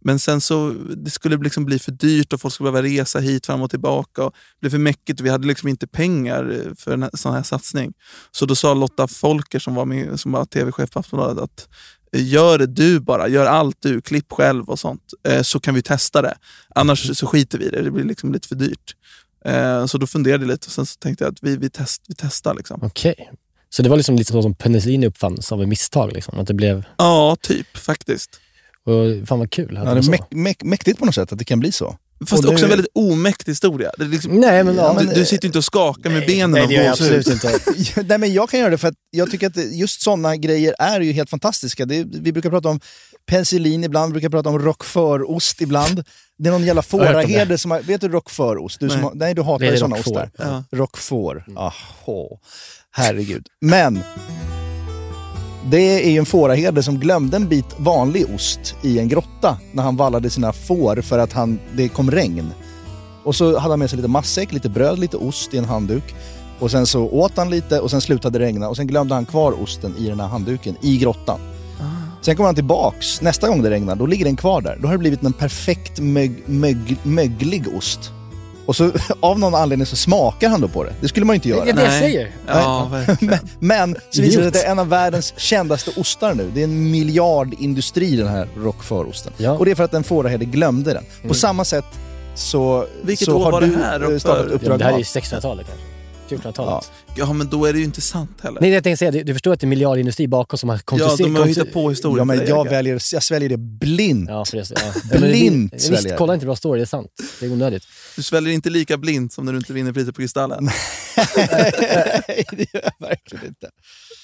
Speaker 5: Men sen så, det skulle liksom bli för dyrt och folk skulle behöva resa hit fram och tillbaka. Och det blev för mäckigt och vi hade liksom inte pengar eh, för en sån här satsning. Så då sa Lotta Folker som var, min, som var tv-chef på Aftonbladet att Gör det du bara, gör allt du, klipp själv och sånt. Eh, så kan vi testa det. Annars så skiter vi i det, det blir liksom lite för dyrt. Eh, så då funderade jag lite och sen så tänkte jag att vi, vi, test, vi testar. Liksom.
Speaker 6: Okej. Så det var liksom lite så som penicillin uppfanns av ett misstag? Liksom. Att det blev...
Speaker 5: Ja, typ faktiskt.
Speaker 6: Och, fan vad kul. att
Speaker 4: Ja,
Speaker 6: det var
Speaker 4: det är
Speaker 6: så.
Speaker 4: mäk, mäk, mäktigt på något sätt att det kan bli så.
Speaker 5: Fast
Speaker 4: Och nu-
Speaker 5: också en väldigt omäktig historia. Det är liksom,
Speaker 6: Nej, men, ja,
Speaker 5: du,
Speaker 6: men,
Speaker 5: du sitter ju inte och skakar med benen
Speaker 6: nej,
Speaker 5: av
Speaker 6: det gör jag
Speaker 5: gåshud.
Speaker 6: absolut inte.
Speaker 4: Nej, men jag kan göra det för att jag tycker att det- just sådana grejer är ju helt fantastiska. Det, vi brukar prata om penicillin ibland, vi brukar prata om roquefortost ibland. Det är någon jävla
Speaker 6: hört om det.
Speaker 4: fåraherde som har... Vet du roquefortost? Du som
Speaker 5: Nej.
Speaker 4: har, nej, du hatar
Speaker 6: Det är
Speaker 4: ju sådana
Speaker 6: roquefort. Mm.
Speaker 4: ostar.
Speaker 5: Ja.
Speaker 4: Roquefort. Ahå. Herregud. Men det är ju en fåraherde som glömde en bit vanlig ost i en grotta när han vallade sina får för att han, det kom regn. Och så hade han med sig lite matsäck, lite bröd, lite ost i en handduk. Och sen så åt han lite och sen slutade det regna och sen glömde han kvar osten i den här handduken i grottan. Sen kommer han tillbaks nästa gång det regnar, då ligger den kvar där. Då har det blivit en perfekt mög, mög, möglig ost. Och så av någon anledning så smakar han då på det. Det skulle man ju inte
Speaker 6: Det
Speaker 4: göra.
Speaker 6: är det jag
Speaker 5: Nej.
Speaker 6: säger.
Speaker 5: Ja, verkligen.
Speaker 4: Men så visar det sig
Speaker 6: Idiot.
Speaker 4: att det är en av världens kändaste ostar nu. Det är en miljardindustri den här roquefortosten.
Speaker 6: Ja. Mm.
Speaker 4: Och det är för att en fåraherde glömde den. På samma sätt så,
Speaker 5: Vilket
Speaker 4: så
Speaker 5: år
Speaker 4: har
Speaker 5: var det
Speaker 4: du
Speaker 5: här,
Speaker 4: eh,
Speaker 5: Roquefort?
Speaker 4: startat
Speaker 6: Ja, men
Speaker 4: Uppdrag
Speaker 6: det här är ju
Speaker 4: Mat.
Speaker 6: 1600-talet kanske. 1400-talet.
Speaker 5: ja, men då är det ju inte sant heller.
Speaker 6: Nej, det jag tänkte säga, du, du förstår att det är miljardindustri bakom som har
Speaker 5: ja, de har ju hittat
Speaker 6: kontinuerligt...
Speaker 5: på historien.
Speaker 4: Ja, men
Speaker 5: för
Speaker 4: jag,
Speaker 5: dig.
Speaker 4: väljer, jag sväljer det blint.
Speaker 6: Ja, för det, ja. Ja, men det-
Speaker 4: Blint sväljer
Speaker 6: Visst,
Speaker 4: jag.
Speaker 6: kolla inte bra story, det är sant. Det är onödigt.
Speaker 5: Du sväljer inte lika blint som när du inte vinner priset på Kristallen.
Speaker 4: Nej, det gör jag verkligen inte.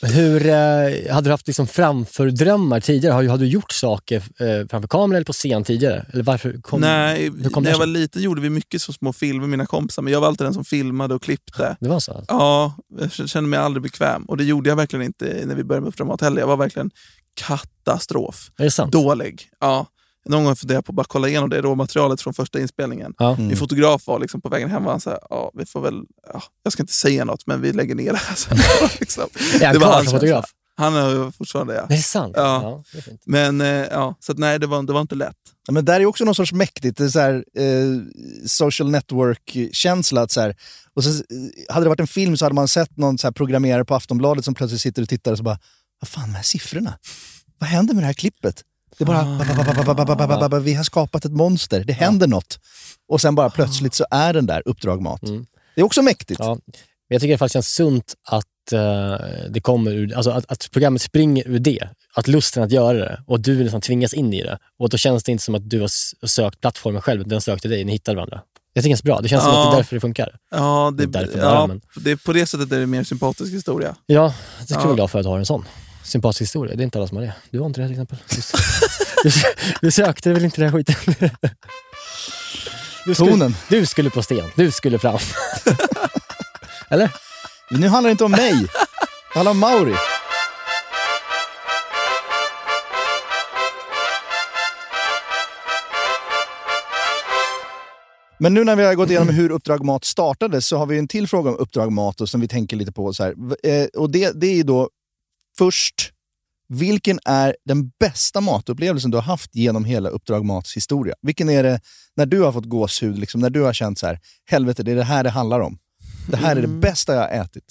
Speaker 6: Hur, eh, hade du haft liksom framfördrömmar tidigare? Har, har du gjort saker eh, framför kameran eller på scen tidigare? Eller varför kom,
Speaker 5: Nej,
Speaker 6: hur kom
Speaker 5: när
Speaker 6: det
Speaker 5: jag var
Speaker 6: sig?
Speaker 5: liten gjorde vi mycket så små filmer med mina kompisar, men jag var alltid den som filmade och klippte.
Speaker 6: Det var så? alltså?
Speaker 5: Ja, jag k- kände mig aldrig bekväm och det gjorde jag verkligen inte när vi började med Framåt heller. Jag var verkligen katastrof.
Speaker 6: Är det sant?
Speaker 5: Dålig. Ja. Någon gång funderade jag på att bara kolla igenom det råmaterialet från första inspelningen.
Speaker 6: Ja.
Speaker 5: Min fotograf var liksom på vägen hem och han sa, ja, vi får väl, ja, jag ska inte säga något, men vi lägger ner det här sen. liksom.
Speaker 6: Är han
Speaker 5: Det var
Speaker 6: kvar
Speaker 5: hans
Speaker 6: som fotograf?
Speaker 5: känsla. Han är fortfarande, ja.
Speaker 6: Är det sant?
Speaker 5: Ja.
Speaker 6: det är fint.
Speaker 5: Men eh, ja, så att, nej, det var, det var inte lätt.
Speaker 4: Ja, Men där är också någon sorts mäktigt, det är så här, eh, social network-känsla. att Så här, och sen, eh, hade det varit en film så hade man sett någon så här programmerare på Aftonbladet som plötsligt sitter och tittar och så bara, vad fan de här siffrorna? Vad händer med det här klippet? Det är bara, ba, ba, ba, ba, ba, ba, ba, ba, ba, ba, ba, vi har skapat ett monster, det händer något. Och sen bara plötsligt så är den där Uppdrag Mat.
Speaker 6: Mm.
Speaker 4: Det är också mäktigt.
Speaker 6: Ja. Men jag tycker i alla fall det känns sunt att eh, det kommer ur, alltså att, att programmet springer ur det. Att lusten att göra det och du nästan tvingas in i det. Och då känns det inte som att du har s- sökt plattformen själv, utan den sökte dig. Ni hittade varandra. Jag tycker det känns bra. Det känns som att det är
Speaker 5: Ja.
Speaker 6: därför det funkar.
Speaker 5: Ja, det,
Speaker 6: Det är därför det är,
Speaker 5: ja,
Speaker 6: men-
Speaker 5: det, på det sättet är det en mer sympatisk historia.
Speaker 6: Ja, det skulle jag vara
Speaker 5: Ja.
Speaker 6: glad för att ha en sån. Sympatisk historia. Det är inte alla som har det. Du har inte det till exempel. Du, s- du, s- du sökte väl inte den här skiten? Du
Speaker 4: Tonen.
Speaker 6: skulle, du skulle på sten. Du skulle fram. Eller?
Speaker 4: Nu handlar det inte om mig, det handlar om Mauri. Men nu när vi har gått igenom hur Uppdrag Mat startades så har vi en till fråga om Uppdrag Mat och som vi tänker lite på. Så här. V- eh, Och det, det är ju då först, vilken är den bästa matupplevelsen du har haft genom hela Uppdrag Mats historia? Vilken är det när du har fått gåshud, liksom, när du har känt så här, helvete det är det här det handlar om. Det här är det bästa jag har ätit.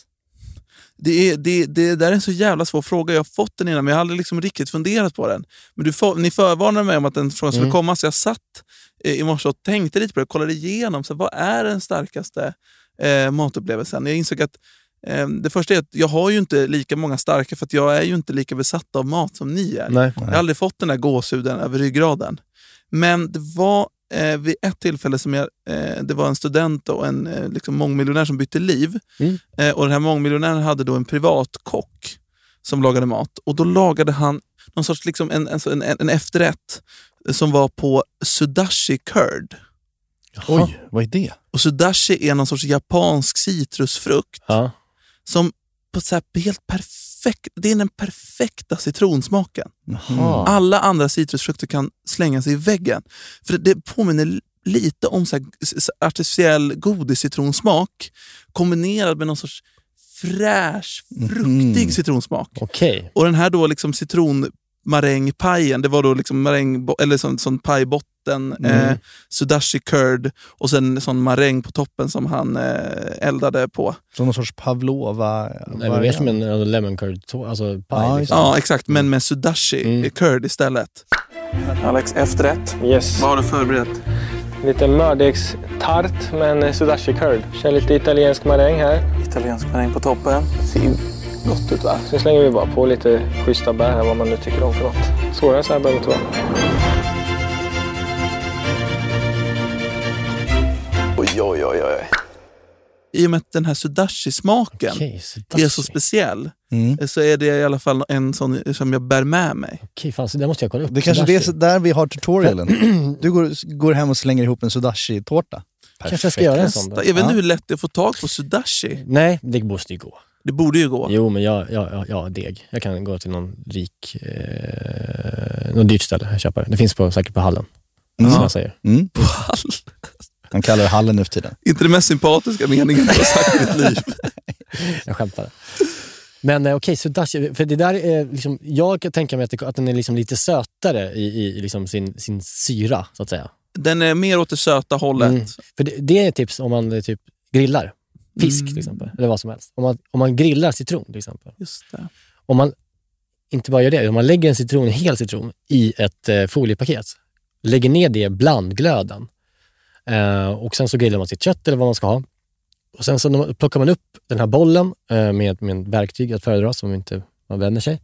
Speaker 5: Det, är, det, det där är en så jävla svår fråga. Jag har fått den innan, men jag har aldrig liksom riktigt funderat på den. Men du, för- ni förvarnade mig om att den frågan skulle
Speaker 6: Mm.
Speaker 5: komma, så jag satt eh, i morse och tänkte lite på det. Kollade igenom, så här, vad är den starkaste eh, matupplevelsen? Jag insåg att eh, det första är att jag har ju inte lika många starka, för att jag är ju inte lika besatt av mat som ni är.
Speaker 6: Nej.
Speaker 5: Jag har aldrig fått den där gåshuden över ryggraden. Men det var eh, vid ett tillfälle som jag, eh, det var en student och en eh, liksom mångmiljonär som bytte liv.
Speaker 6: Mm.
Speaker 5: Eh, och Den här mångmiljonären hade då en privatkock som lagade mat. Och Då lagade han någon sorts liksom en, en, en, en efterrätt som var på sudashi curd.
Speaker 4: Oj, vad är det?
Speaker 5: Och Sudashi är någon sorts japansk citrusfrukt
Speaker 6: Ja.
Speaker 5: som på så här helt perfekt, det är den perfekta citronsmaken.
Speaker 6: Ah.
Speaker 5: Alla andra citrusfrukter kan slänga sig i väggen. För det- Det påminner li- lite om så här, s- s- artificiell godiscitronsmak kombinerad med någon sorts fräsch, fruktig
Speaker 4: Mhm.
Speaker 5: citronsmak.
Speaker 6: Okej.
Speaker 5: Och den här då liksom citronmarängpajen, det var då liksom maräng, eller sån, sån pajbotten, eh, sudashi curd och sen sån maräng på toppen som han eh, eldade på.
Speaker 4: Som någon sorts pavlova
Speaker 6: Nej, men mer som en alltså, lemon curd tå- alltså, paj.
Speaker 4: Ja,
Speaker 6: liksom.
Speaker 5: Ja, exakt, men med sudashi
Speaker 6: Mm.
Speaker 5: curd istället.
Speaker 9: Alex, efterrätt.
Speaker 10: Yes.
Speaker 5: har du förberett?
Speaker 10: Lite mördegstart men eh, sudashi curd. Kör lite italiensk maräng här.
Speaker 5: Italiensk maräng på toppen.
Speaker 9: Gott ut va?
Speaker 10: Sen slänger vi bara på lite schyssta bär här, vad man nu tycker om för något. Svårare än så här behöver det inte vara.
Speaker 9: Oj, oj, oj, oj.
Speaker 5: I och med att den här sudashi-smaken
Speaker 6: Okej,
Speaker 5: är så
Speaker 6: sudashi.
Speaker 5: speciell
Speaker 4: Mm.
Speaker 5: så är det i alla fall en sån som jag bär med mig.
Speaker 6: Okej, fan, så det måste jag kolla upp.
Speaker 4: Det kanske det är så
Speaker 6: Sudashi.
Speaker 4: där vi har tutorialen. Du går, går hem och slänger ihop en sudashi-tårta.
Speaker 6: Kanske jag ska göra en sån
Speaker 5: Testa.
Speaker 6: då.
Speaker 5: Jag vet inte
Speaker 4: Ja.
Speaker 5: hur lätt det är att få tag på sudashi.
Speaker 6: Nej, det måste ju gå.
Speaker 5: Det borde ju gå.
Speaker 6: Jo, men jag, jag, jag, jag har deg. Jag kan gå till någon rik, eh, någon dyrt ställe och köpa det. Det finns på, säkert på hallen.
Speaker 4: Mm.
Speaker 6: Som jag säger.
Speaker 4: Mm.
Speaker 5: Hall.
Speaker 4: Han kallar det hallen nu för tiden.
Speaker 5: Inte den mest sympatiska meningen du har sagt i ditt liv.
Speaker 6: Jag skämtar. Men eh, okej, sudashi. För det där är liksom, jag kan tänka mig att, det, att den är liksom lite sötare i, i, i liksom sin, sin syra, så att säga.
Speaker 5: Den är mer åt det söta hållet.
Speaker 6: Mm. För det, det är ett tips om man eh, typ grillar. Fisk till exempel, eller vad som helst. Om man, om man grillar citron till exempel.
Speaker 5: Just det.
Speaker 6: Om man inte bara gör det, om man lägger en citron, en hel citron i ett eh, foliepaket, lägger ner det bland glöden eh, och sen så grillar man sitt kött eller vad man ska ha. Och Sen så när man- plockar man upp den här bollen eh, med, med ett verktyg att föredra som inte man vänder sig,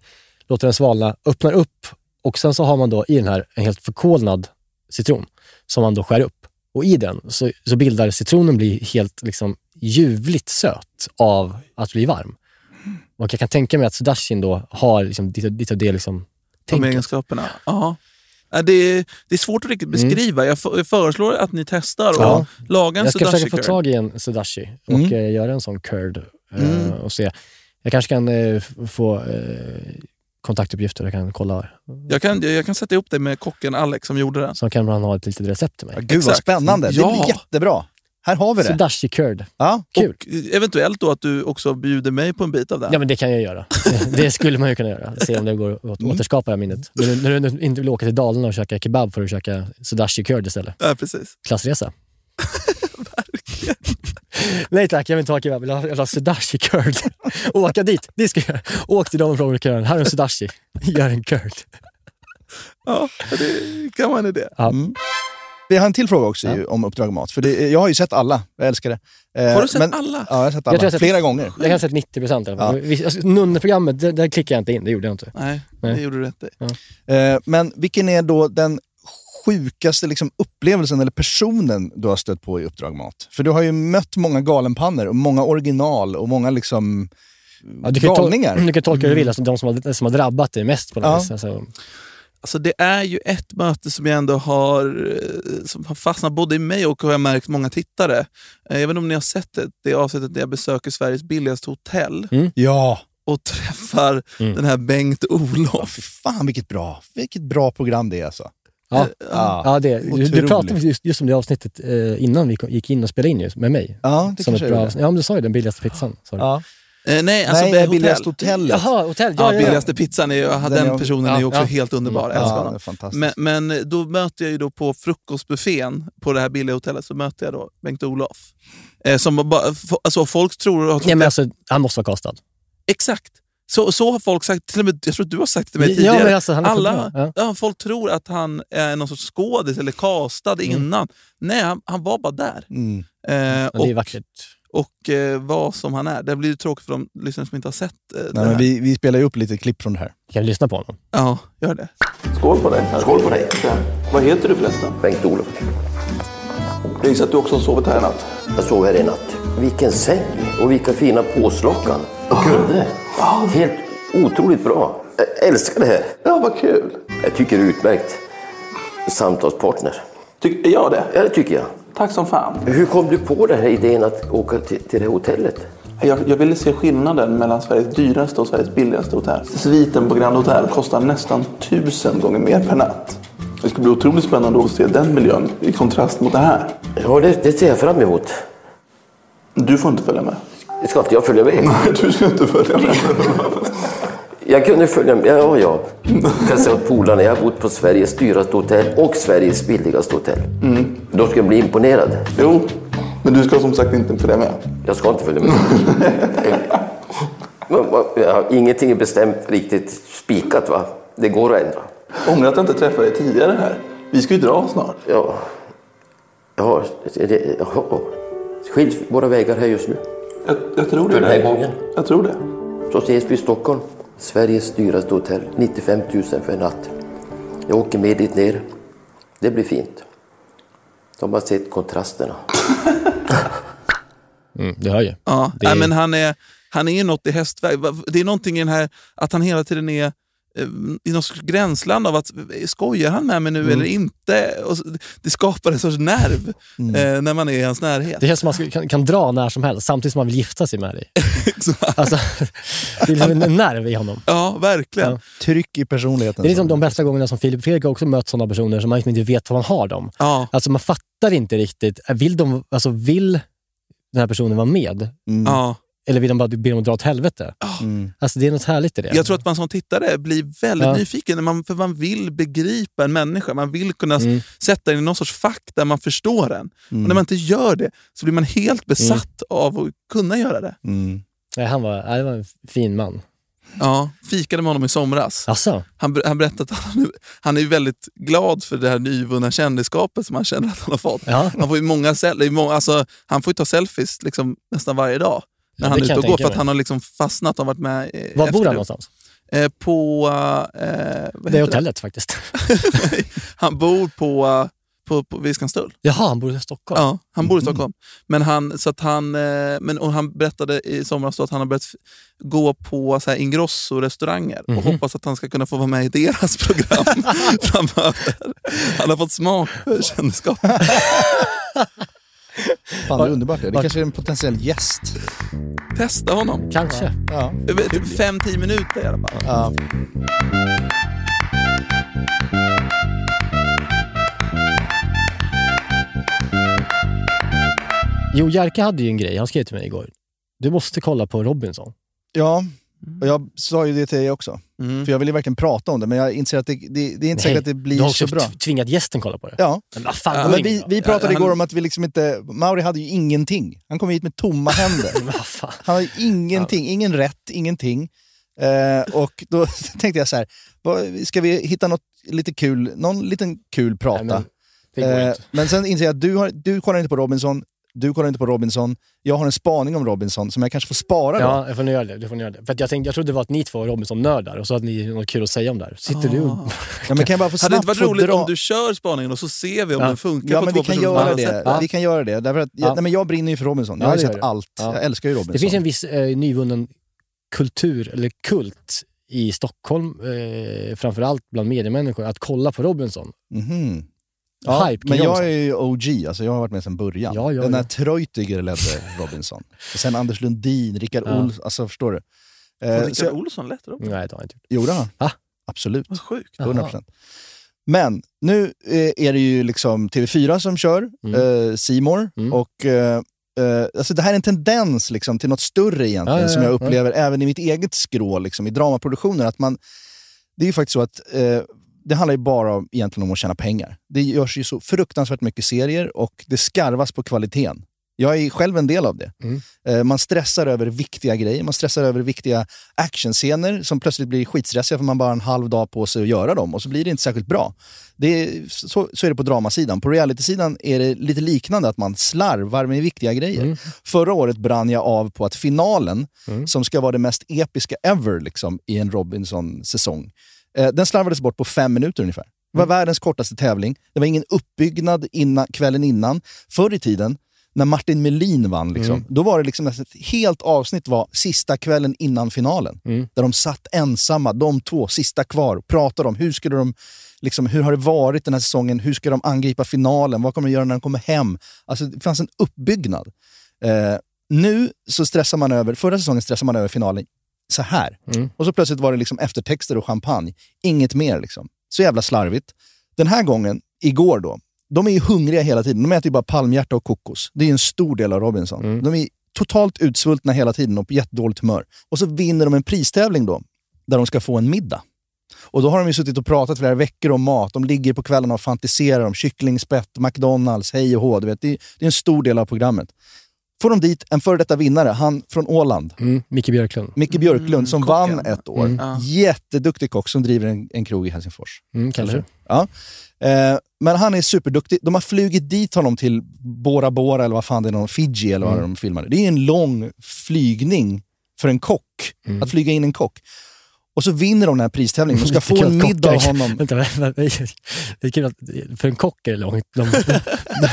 Speaker 6: låter den svalna, öppnar upp och sen så har man då i den här en helt förkolnad citron som man då skär upp. Och i den så, så bildar citronen blir helt liksom ljuvligt söt av att bli varm. Och jag kan tänka mig att sudashin då har liksom, lite, lite av det liksom,
Speaker 5: De
Speaker 6: tänket.
Speaker 5: egenskaperna. Ja. Ja, Det är, det är svårt att riktigt beskriva. Jag, f- jag föreslår att ni testar och
Speaker 6: Mm. Ja.
Speaker 5: lagar en
Speaker 6: Jag ska
Speaker 5: sudashi
Speaker 6: försöka få
Speaker 5: curd.
Speaker 6: tag i en sudashi och
Speaker 4: Mm.
Speaker 6: eh, göra en sån curd eh,
Speaker 4: Mm.
Speaker 6: och se. Jag kanske kan eh, f- få eh, kontaktuppgifter, jag kan kolla.
Speaker 5: Jag kan, jag, jag kan sätta ihop dig med kocken Alex som gjorde den.
Speaker 6: Så kan han ha ett litet recept till
Speaker 4: Ja,
Speaker 6: mig.
Speaker 4: Gud vad
Speaker 5: Exakt.
Speaker 4: spännande. Det
Speaker 5: Ja.
Speaker 4: blir jättebra. Här har vi det.
Speaker 6: Sudashi curd.
Speaker 4: Ja.
Speaker 6: Kul.
Speaker 5: Och eh, eventuellt då att du också bjuder mig på en bit av den.
Speaker 6: Ja, men det kan jag göra. Det skulle man ju kunna göra. Se om det går att
Speaker 4: Mm.
Speaker 6: återskapa det här minnet. När du, när du nu inte vill åka till Dalarna och käka kebab får du käka sudashi curd istället.
Speaker 5: Ja, precis.
Speaker 6: Klassresa. Nej tack, jag vill inte ha kebab. Jag vill ha, jag vill ha sudashi curd. Åka dit, det ska jag göra. Åk till dem och fråga kören. Här är en sudashi. Gör en curd.
Speaker 5: Ja, det kan vara en idé.
Speaker 4: Vi har en till fråga också ju, om Uppdrag Mat. För det, jag har ju sett alla. Jag älskar det. Eh,
Speaker 5: Har du sett
Speaker 4: men-
Speaker 5: alla?
Speaker 4: Ja, jag har sett
Speaker 6: Jag
Speaker 4: alla.
Speaker 6: tror jag sett-
Speaker 4: Flera gånger.
Speaker 6: Jag kan säga 90 procent i alla fall. Vi- Alltså, Nunneprogrammet, där, där klickade jag inte in. Det gjorde jag inte.
Speaker 5: Nej, det
Speaker 6: Nej.
Speaker 5: gjorde du rätt i.
Speaker 4: Eh, men vilken är då den sjukaste liksom, upplevelsen eller personen du har stött på i Uppdrag Mat? För du har ju mött många galenpannor och många original och många liksom
Speaker 6: Ja, du, kan ju tol-
Speaker 4: galningar. Mm.
Speaker 6: du kan tolka hur du vill, alltså, de som har, som har drabbat dig mest på något
Speaker 4: Ja.
Speaker 6: vis. Alltså,
Speaker 5: Alltså det är ju ett möte som jag ändå har, eh, som har fastnat både i mig och har jag märkt många tittare. Eh, Jag vet inte om ni har sett det, det avsnittet där jag besöker Sveriges billigaste hotell
Speaker 4: Ja,
Speaker 5: och träffar
Speaker 6: Mm.
Speaker 5: den här Bengt-Olof.
Speaker 4: fy fan vilket bra. Vilket bra program det är alltså.
Speaker 6: ja.
Speaker 4: Ja.
Speaker 6: Ja, det, du, du
Speaker 4: Otroligt.
Speaker 6: pratade just, just om det avsnittet eh, innan vi kom- gick in och spelade in ju, med mig.
Speaker 4: Ja, det
Speaker 6: som
Speaker 4: kanske
Speaker 6: ett
Speaker 4: är
Speaker 6: bra
Speaker 4: det.
Speaker 6: avsnitt. Ja, men du sa ju den billigaste pizzan. Sa du.
Speaker 4: Ja.
Speaker 5: Eh, nej, alltså
Speaker 4: Nej,
Speaker 5: det är
Speaker 4: det billigaste
Speaker 5: hotell.
Speaker 4: hotellet.
Speaker 6: Jaha, hotell.
Speaker 5: Ja,
Speaker 6: Ja, ja, ja.
Speaker 5: billigaste pizzan, är, ju- den,
Speaker 4: Den är-
Speaker 5: personen är
Speaker 6: ja,
Speaker 5: ju också
Speaker 6: ja.
Speaker 5: helt underbar. Jag älskar
Speaker 4: Ja, det
Speaker 5: honom.
Speaker 4: är fantastiskt.
Speaker 5: Men, men eh, då möter jag ju då på frukostbuffén på det här billiga hotellet så möter jag då Bengt-Olof. Eh, som bara, alltså folk tror att
Speaker 6: Nej, men alltså, han måste vara castad.
Speaker 5: Exakt. Så, så har folk sagt, till och med, jag tror att du har sagt det till mig
Speaker 6: Ja,
Speaker 5: tidigare.
Speaker 6: men alltså, han är
Speaker 5: Alla,
Speaker 6: skitbra.
Speaker 5: ja, folk tror att han är någon sorts skådis eller castad innan. Nej, han, han var bara där.
Speaker 4: Mm.
Speaker 5: Eh,
Speaker 6: Ja, det är
Speaker 5: och
Speaker 6: vackert.
Speaker 5: och eh, var som han är. Det blir ju tråkigt för de lyssnare som inte har sett eh, det
Speaker 4: Nej,
Speaker 5: här.
Speaker 4: men vi, vi spelar ju upp lite klipp från det här.
Speaker 6: Kan vi lyssna på honom?
Speaker 5: Ja, gör det.
Speaker 9: Skål på dig. Skål på dig. Vad heter du förresten?
Speaker 11: Bengt-Olof.
Speaker 9: Jag gissar att du också har sovit här i natt.
Speaker 11: Jag sov här i natt. Vilken säng och vilka fina påslakan. Och kudde. Helt otroligt bra. Jag älskar det här.
Speaker 9: Ja, vad kul.
Speaker 11: Jag tycker det är utmärkt samtalspartner.
Speaker 9: Tycker jag det?
Speaker 11: Ja, det tycker jag.
Speaker 9: Tack som fan.
Speaker 11: Hur kom du på den här idén att åka till, till det här hotellet?
Speaker 9: Jag, jag ville se skillnaden mellan Sveriges dyraste och Sveriges billigaste hotell. Sviten på Grand Hotel kostar nästan tusen gånger mer per natt. Det ska bli otroligt spännande att se den miljön i kontrast mot det här.
Speaker 11: Ja, det, det ser jag fram emot.
Speaker 9: Du får inte följa med.
Speaker 11: Det ska inte jag följa med?
Speaker 9: Du ska inte följa med.
Speaker 11: Jag kunde följa med. Ja, ja. Kan säga åt polarna, jag har bott på Sveriges dyraste hotell och Sveriges billigaste hotell.
Speaker 9: Mm.
Speaker 11: Då ska jag bli imponerad.
Speaker 9: Jo, men du ska som sagt inte följa med.
Speaker 11: Jag ska inte följa med. Men, va- ja, Ingenting är bestämt riktigt spikat, va? Det går att ändra.
Speaker 9: Ångrar att jag inte träffade dig tidigare här. Vi ska ju dra snart.
Speaker 11: Ja. Jaha, är det, jaha. Skiljs våra vägar här just nu?
Speaker 9: Jag, jag tror det.
Speaker 11: För den här gången?
Speaker 9: Jag tror det.
Speaker 11: Så ses vi i Stockholm. Sveriges dyraste hotell. 95 000 för en natt. Jag åker med dit ner. Det blir fint. De har sett kontrasterna.
Speaker 6: Mm, du hör ju.
Speaker 5: Ja,
Speaker 6: Det
Speaker 5: nej,
Speaker 6: är-
Speaker 5: men han är, han är något i hästväg. Va- Det är någonting i den här att han hela tiden är eh, i någon sorts gränsland av att eh, skojar han med mig
Speaker 6: Mm.
Speaker 5: nu eller inte? Och så- det skapar en sorts nerv
Speaker 6: Mm.
Speaker 5: eh, när man är i hans närhet.
Speaker 6: Det känns som att man ska- kan, kan dra när som helst, samtidigt som man vill gifta sig med dig.
Speaker 5: Exakt.
Speaker 6: Alltså, det är liksom en nerv i honom.
Speaker 5: Ja, verkligen.
Speaker 6: Ja.
Speaker 4: Tryck i personligheten.
Speaker 6: Det är liksom de bästa gångerna som Filip och Fredrik har också mött sådana personer som man liksom inte vet vad man har dem.
Speaker 5: Ja.
Speaker 6: Alltså man fattar inte riktigt. Vill, de, alltså, vill den här personen vara med?
Speaker 4: Mm.
Speaker 5: Ja.
Speaker 6: Eller vill de bara be dem dra åt helvete?
Speaker 4: Mm.
Speaker 6: Alltså det är något härligt i det.
Speaker 5: Jag tror att man som tittare blir väldigt
Speaker 6: Ja.
Speaker 5: nyfiken, när man, för man vill begripa en människa. Man vill kunna s-
Speaker 6: Mm.
Speaker 5: sätta den i någon sorts fack där man förstår den. Och när
Speaker 4: Mm.
Speaker 5: man inte gör det så blir man helt besatt
Speaker 6: Mm.
Speaker 5: av att kunna göra det.
Speaker 4: Mm.
Speaker 6: Nej, han var, nej, det var en fin man.
Speaker 5: Ja, fikade med honom i somras.
Speaker 6: Alltså,
Speaker 5: Han, ber- han berättade att han, han är ju väldigt glad för det här nyvunna kändisskapet som han känner att han har fått.
Speaker 6: ja.
Speaker 5: Han får ju många, sel- det är många alltså, han får ju ta selfies liksom nästan varje dag när
Speaker 6: Ja,
Speaker 5: han
Speaker 6: det
Speaker 5: är
Speaker 6: kan
Speaker 5: ute
Speaker 6: jag
Speaker 5: och går
Speaker 6: tänka
Speaker 5: för att
Speaker 6: mig.
Speaker 5: han har liksom fastnat. Han har varit med eh,
Speaker 6: Var bor
Speaker 5: efter-
Speaker 6: han någonstans?
Speaker 5: Eh, på... Eh, vad
Speaker 6: Det är
Speaker 5: heter det?
Speaker 6: hotellet faktiskt.
Speaker 5: han bor på, eh, på, på Viskanstull.
Speaker 6: Jaha, han bor i Stockholm.
Speaker 5: Ja, han bor i
Speaker 4: Mm.
Speaker 5: Stockholm. Men han, så att han, eh, men, och han berättade i somras då att han har börjat f- gå på så här Ingrosso-restauranger
Speaker 4: Mhm.
Speaker 5: och hoppas att han ska kunna få vara med i deras program framöver. Han har fått smak för kändisskap.
Speaker 4: Fan, det är underbart. Det, det
Speaker 6: Var-
Speaker 4: kanske är en potentiell gäst.
Speaker 5: Testa honom.
Speaker 6: Kanske.
Speaker 4: Ja.
Speaker 5: Jag vet, Typ fem, tio minuter i alla fall.
Speaker 4: Ja.
Speaker 6: Jo, Jerka hade ju en grej. Han skrev till mig igår. Du måste kolla på Robinson.
Speaker 4: ja,
Speaker 6: Mm.
Speaker 4: och jag sa ju det till dig också.
Speaker 5: Mm.
Speaker 4: För jag ville verkligen prata om det, men jag inser att det, det, det är inte säkert att det
Speaker 6: du
Speaker 4: blir
Speaker 6: har
Speaker 4: så
Speaker 6: också
Speaker 4: bra.
Speaker 6: t- tvingat gästen kolla på det.
Speaker 4: Ja,
Speaker 6: Men vad fan,
Speaker 5: Ja,
Speaker 6: gå
Speaker 4: men
Speaker 6: in
Speaker 4: vi,
Speaker 6: då.
Speaker 4: vi pratade
Speaker 5: han-
Speaker 4: igår om att vi liksom inte... Mauri hade ju ingenting. Han kom hit med tomma händer.
Speaker 6: Men vad fan.
Speaker 4: Han har ju ingenting, ingen rätt, ingenting. Eh, och då tänkte jag så här, vad- ska vi hitta något lite kul, någon liten kul prata?
Speaker 6: Nej, men Det går
Speaker 4: Eh,
Speaker 6: inte.
Speaker 4: men sen inser jag att du, har, du kollar inte på Robinson, du kollar inte på Robinson. Jag har en spaning om Robinson som jag kanske får spara då.
Speaker 6: Ja, jag får nog göra det. Du får nog göra det. För att jag, tänkte, jag trodde det var att ni två var Robinson-nördar och så hade ni något kul att säga om det här. Sitter du
Speaker 4: Ah.
Speaker 6: och...
Speaker 4: Ja, men kan jag bara få
Speaker 5: Hade det
Speaker 4: snabbt
Speaker 5: inte varit
Speaker 4: få
Speaker 5: roligt
Speaker 4: dra-
Speaker 5: om du kör spaningen och så ser vi om
Speaker 6: Ja.
Speaker 5: den funkar
Speaker 4: Ja,
Speaker 5: på
Speaker 4: men
Speaker 5: två
Speaker 4: vi kan
Speaker 5: personer på
Speaker 4: göra
Speaker 5: andra
Speaker 4: det.
Speaker 5: sätt?
Speaker 6: Ja.
Speaker 4: Vi kan göra det. Därför att jag,
Speaker 6: Ja.
Speaker 4: nej, men jag brinner ju för Robinson. Jag
Speaker 6: Ja,
Speaker 4: har ju
Speaker 6: det
Speaker 4: sett
Speaker 6: gör du.
Speaker 4: allt.
Speaker 6: Ja.
Speaker 4: Jag älskar ju Robinson.
Speaker 6: Det finns en viss eh, nyvunnen kultur, eller kult, i Stockholm, eh, framförallt bland mediemänniskor, att kolla på Robinson.
Speaker 4: Mhm.
Speaker 6: Ja,
Speaker 4: Ja,
Speaker 6: Hype
Speaker 4: men
Speaker 6: kring
Speaker 4: jag
Speaker 6: Robinson.
Speaker 4: är ju OG, alltså jag har varit med sedan början.
Speaker 6: Ja, ja,
Speaker 4: Den där
Speaker 6: ja.
Speaker 4: Treutiger ledde Robinson. Och sen Anders Lundin, Rickard
Speaker 6: Ja.
Speaker 4: Olsson, alltså förstår du?
Speaker 5: Och
Speaker 4: Eh, så
Speaker 5: Rickard
Speaker 4: jag,
Speaker 5: Olsson lät det då.
Speaker 6: Nej, det har jag inte gjort.
Speaker 4: gjorde han?
Speaker 6: Va?
Speaker 4: Absolut.
Speaker 5: Vad sjukt.
Speaker 4: 100 procent. Men nu eh, är det ju liksom TV4 som kör,
Speaker 6: Mm.
Speaker 4: eh, C More
Speaker 6: Mm.
Speaker 4: och eh, eh, Alltså det här är en tendens liksom till något större egentligen
Speaker 6: Ja, ja,
Speaker 4: som
Speaker 6: ja,
Speaker 4: jag upplever även i mitt eget skrå liksom, i dramaproduktioner. Att man, det är ju faktiskt så att eh, det handlar ju bara om, egentligen om att tjäna pengar. Det görs ju så fruktansvärt mycket serier och det skarvas på kvaliteten. Jag är själv en del av det.
Speaker 6: Mm.
Speaker 4: Eh, Man stressar över viktiga grejer. Man stressar över viktiga actionscener som plötsligt blir skitstressiga för man bara har en halv dag på sig att göra dem och så blir det inte särskilt bra. Det är, så, så är det på dramasidan. På realitysidan är det lite liknande, att man slarvar med viktiga grejer. Förra året brann jag av på att finalen, som ska vara det mest episka ever liksom, i en Robinson-säsong, eh, den slarvades bort på fem minuter ungefär. Det var världens kortaste tävling. Det var ingen uppbyggnad innan, kvällen innan. Förr i tiden, när Martin Melin vann, liksom, då var det liksom nästan ett helt avsnitt var sista kvällen innan finalen. Där de satt ensamma, de två, sista kvar, och pratade om hur skulle de Liksom, hur har det varit den här säsongen? Hur ska de angripa finalen? Vad kommer de göra när de kommer hem? Alltså, det fanns en uppbyggnad. Eh, nu så stressar man över, förra säsongen stressade man över finalen så här. Och så plötsligt var det liksom eftertexter och champagne. Inget mer. Liksom. Så jävla slarvigt. Den här gången, igår då, de är ju hungriga hela tiden. De äter ju bara palmhjärta och kokos. Det är ju en stor del av Robinson.
Speaker 6: Mm.
Speaker 4: De är totalt utsvultna hela tiden och på jättedåligt humör. Och så vinner de en pristävling då, där de ska få en middag. Och då har de ju suttit och pratat flera veckor om mat. De ligger på kvällarna och fantiserar om kycklingspett, McDonalds, hej och hå. Du vet, det, är, det är en stor del av programmet. Får de dit en före detta vinnare, han från Åland,
Speaker 6: Mm. Micke Björklund.
Speaker 4: Micke Björklund, som
Speaker 5: kocken.
Speaker 4: vann ett år.
Speaker 6: Mm.
Speaker 5: Ja.
Speaker 4: Jätteduktig kock som driver en, en krog i Helsingfors.
Speaker 6: Mm, kanske.
Speaker 4: Ja. Eh, men han är superduktig. De har flugit dit honom till Bora Bora eller vad fan det är, någon Fiji eller
Speaker 6: Mm.
Speaker 4: vad de filmade. Det är en lång flygning för en kock.
Speaker 6: Mm.
Speaker 4: Att flyga in en kock. Och så vinner de den här pristävlingen. De ska få en middag av honom.
Speaker 6: Vänta, vänta, vänta. Det är kul att, för en kock är det långt. De,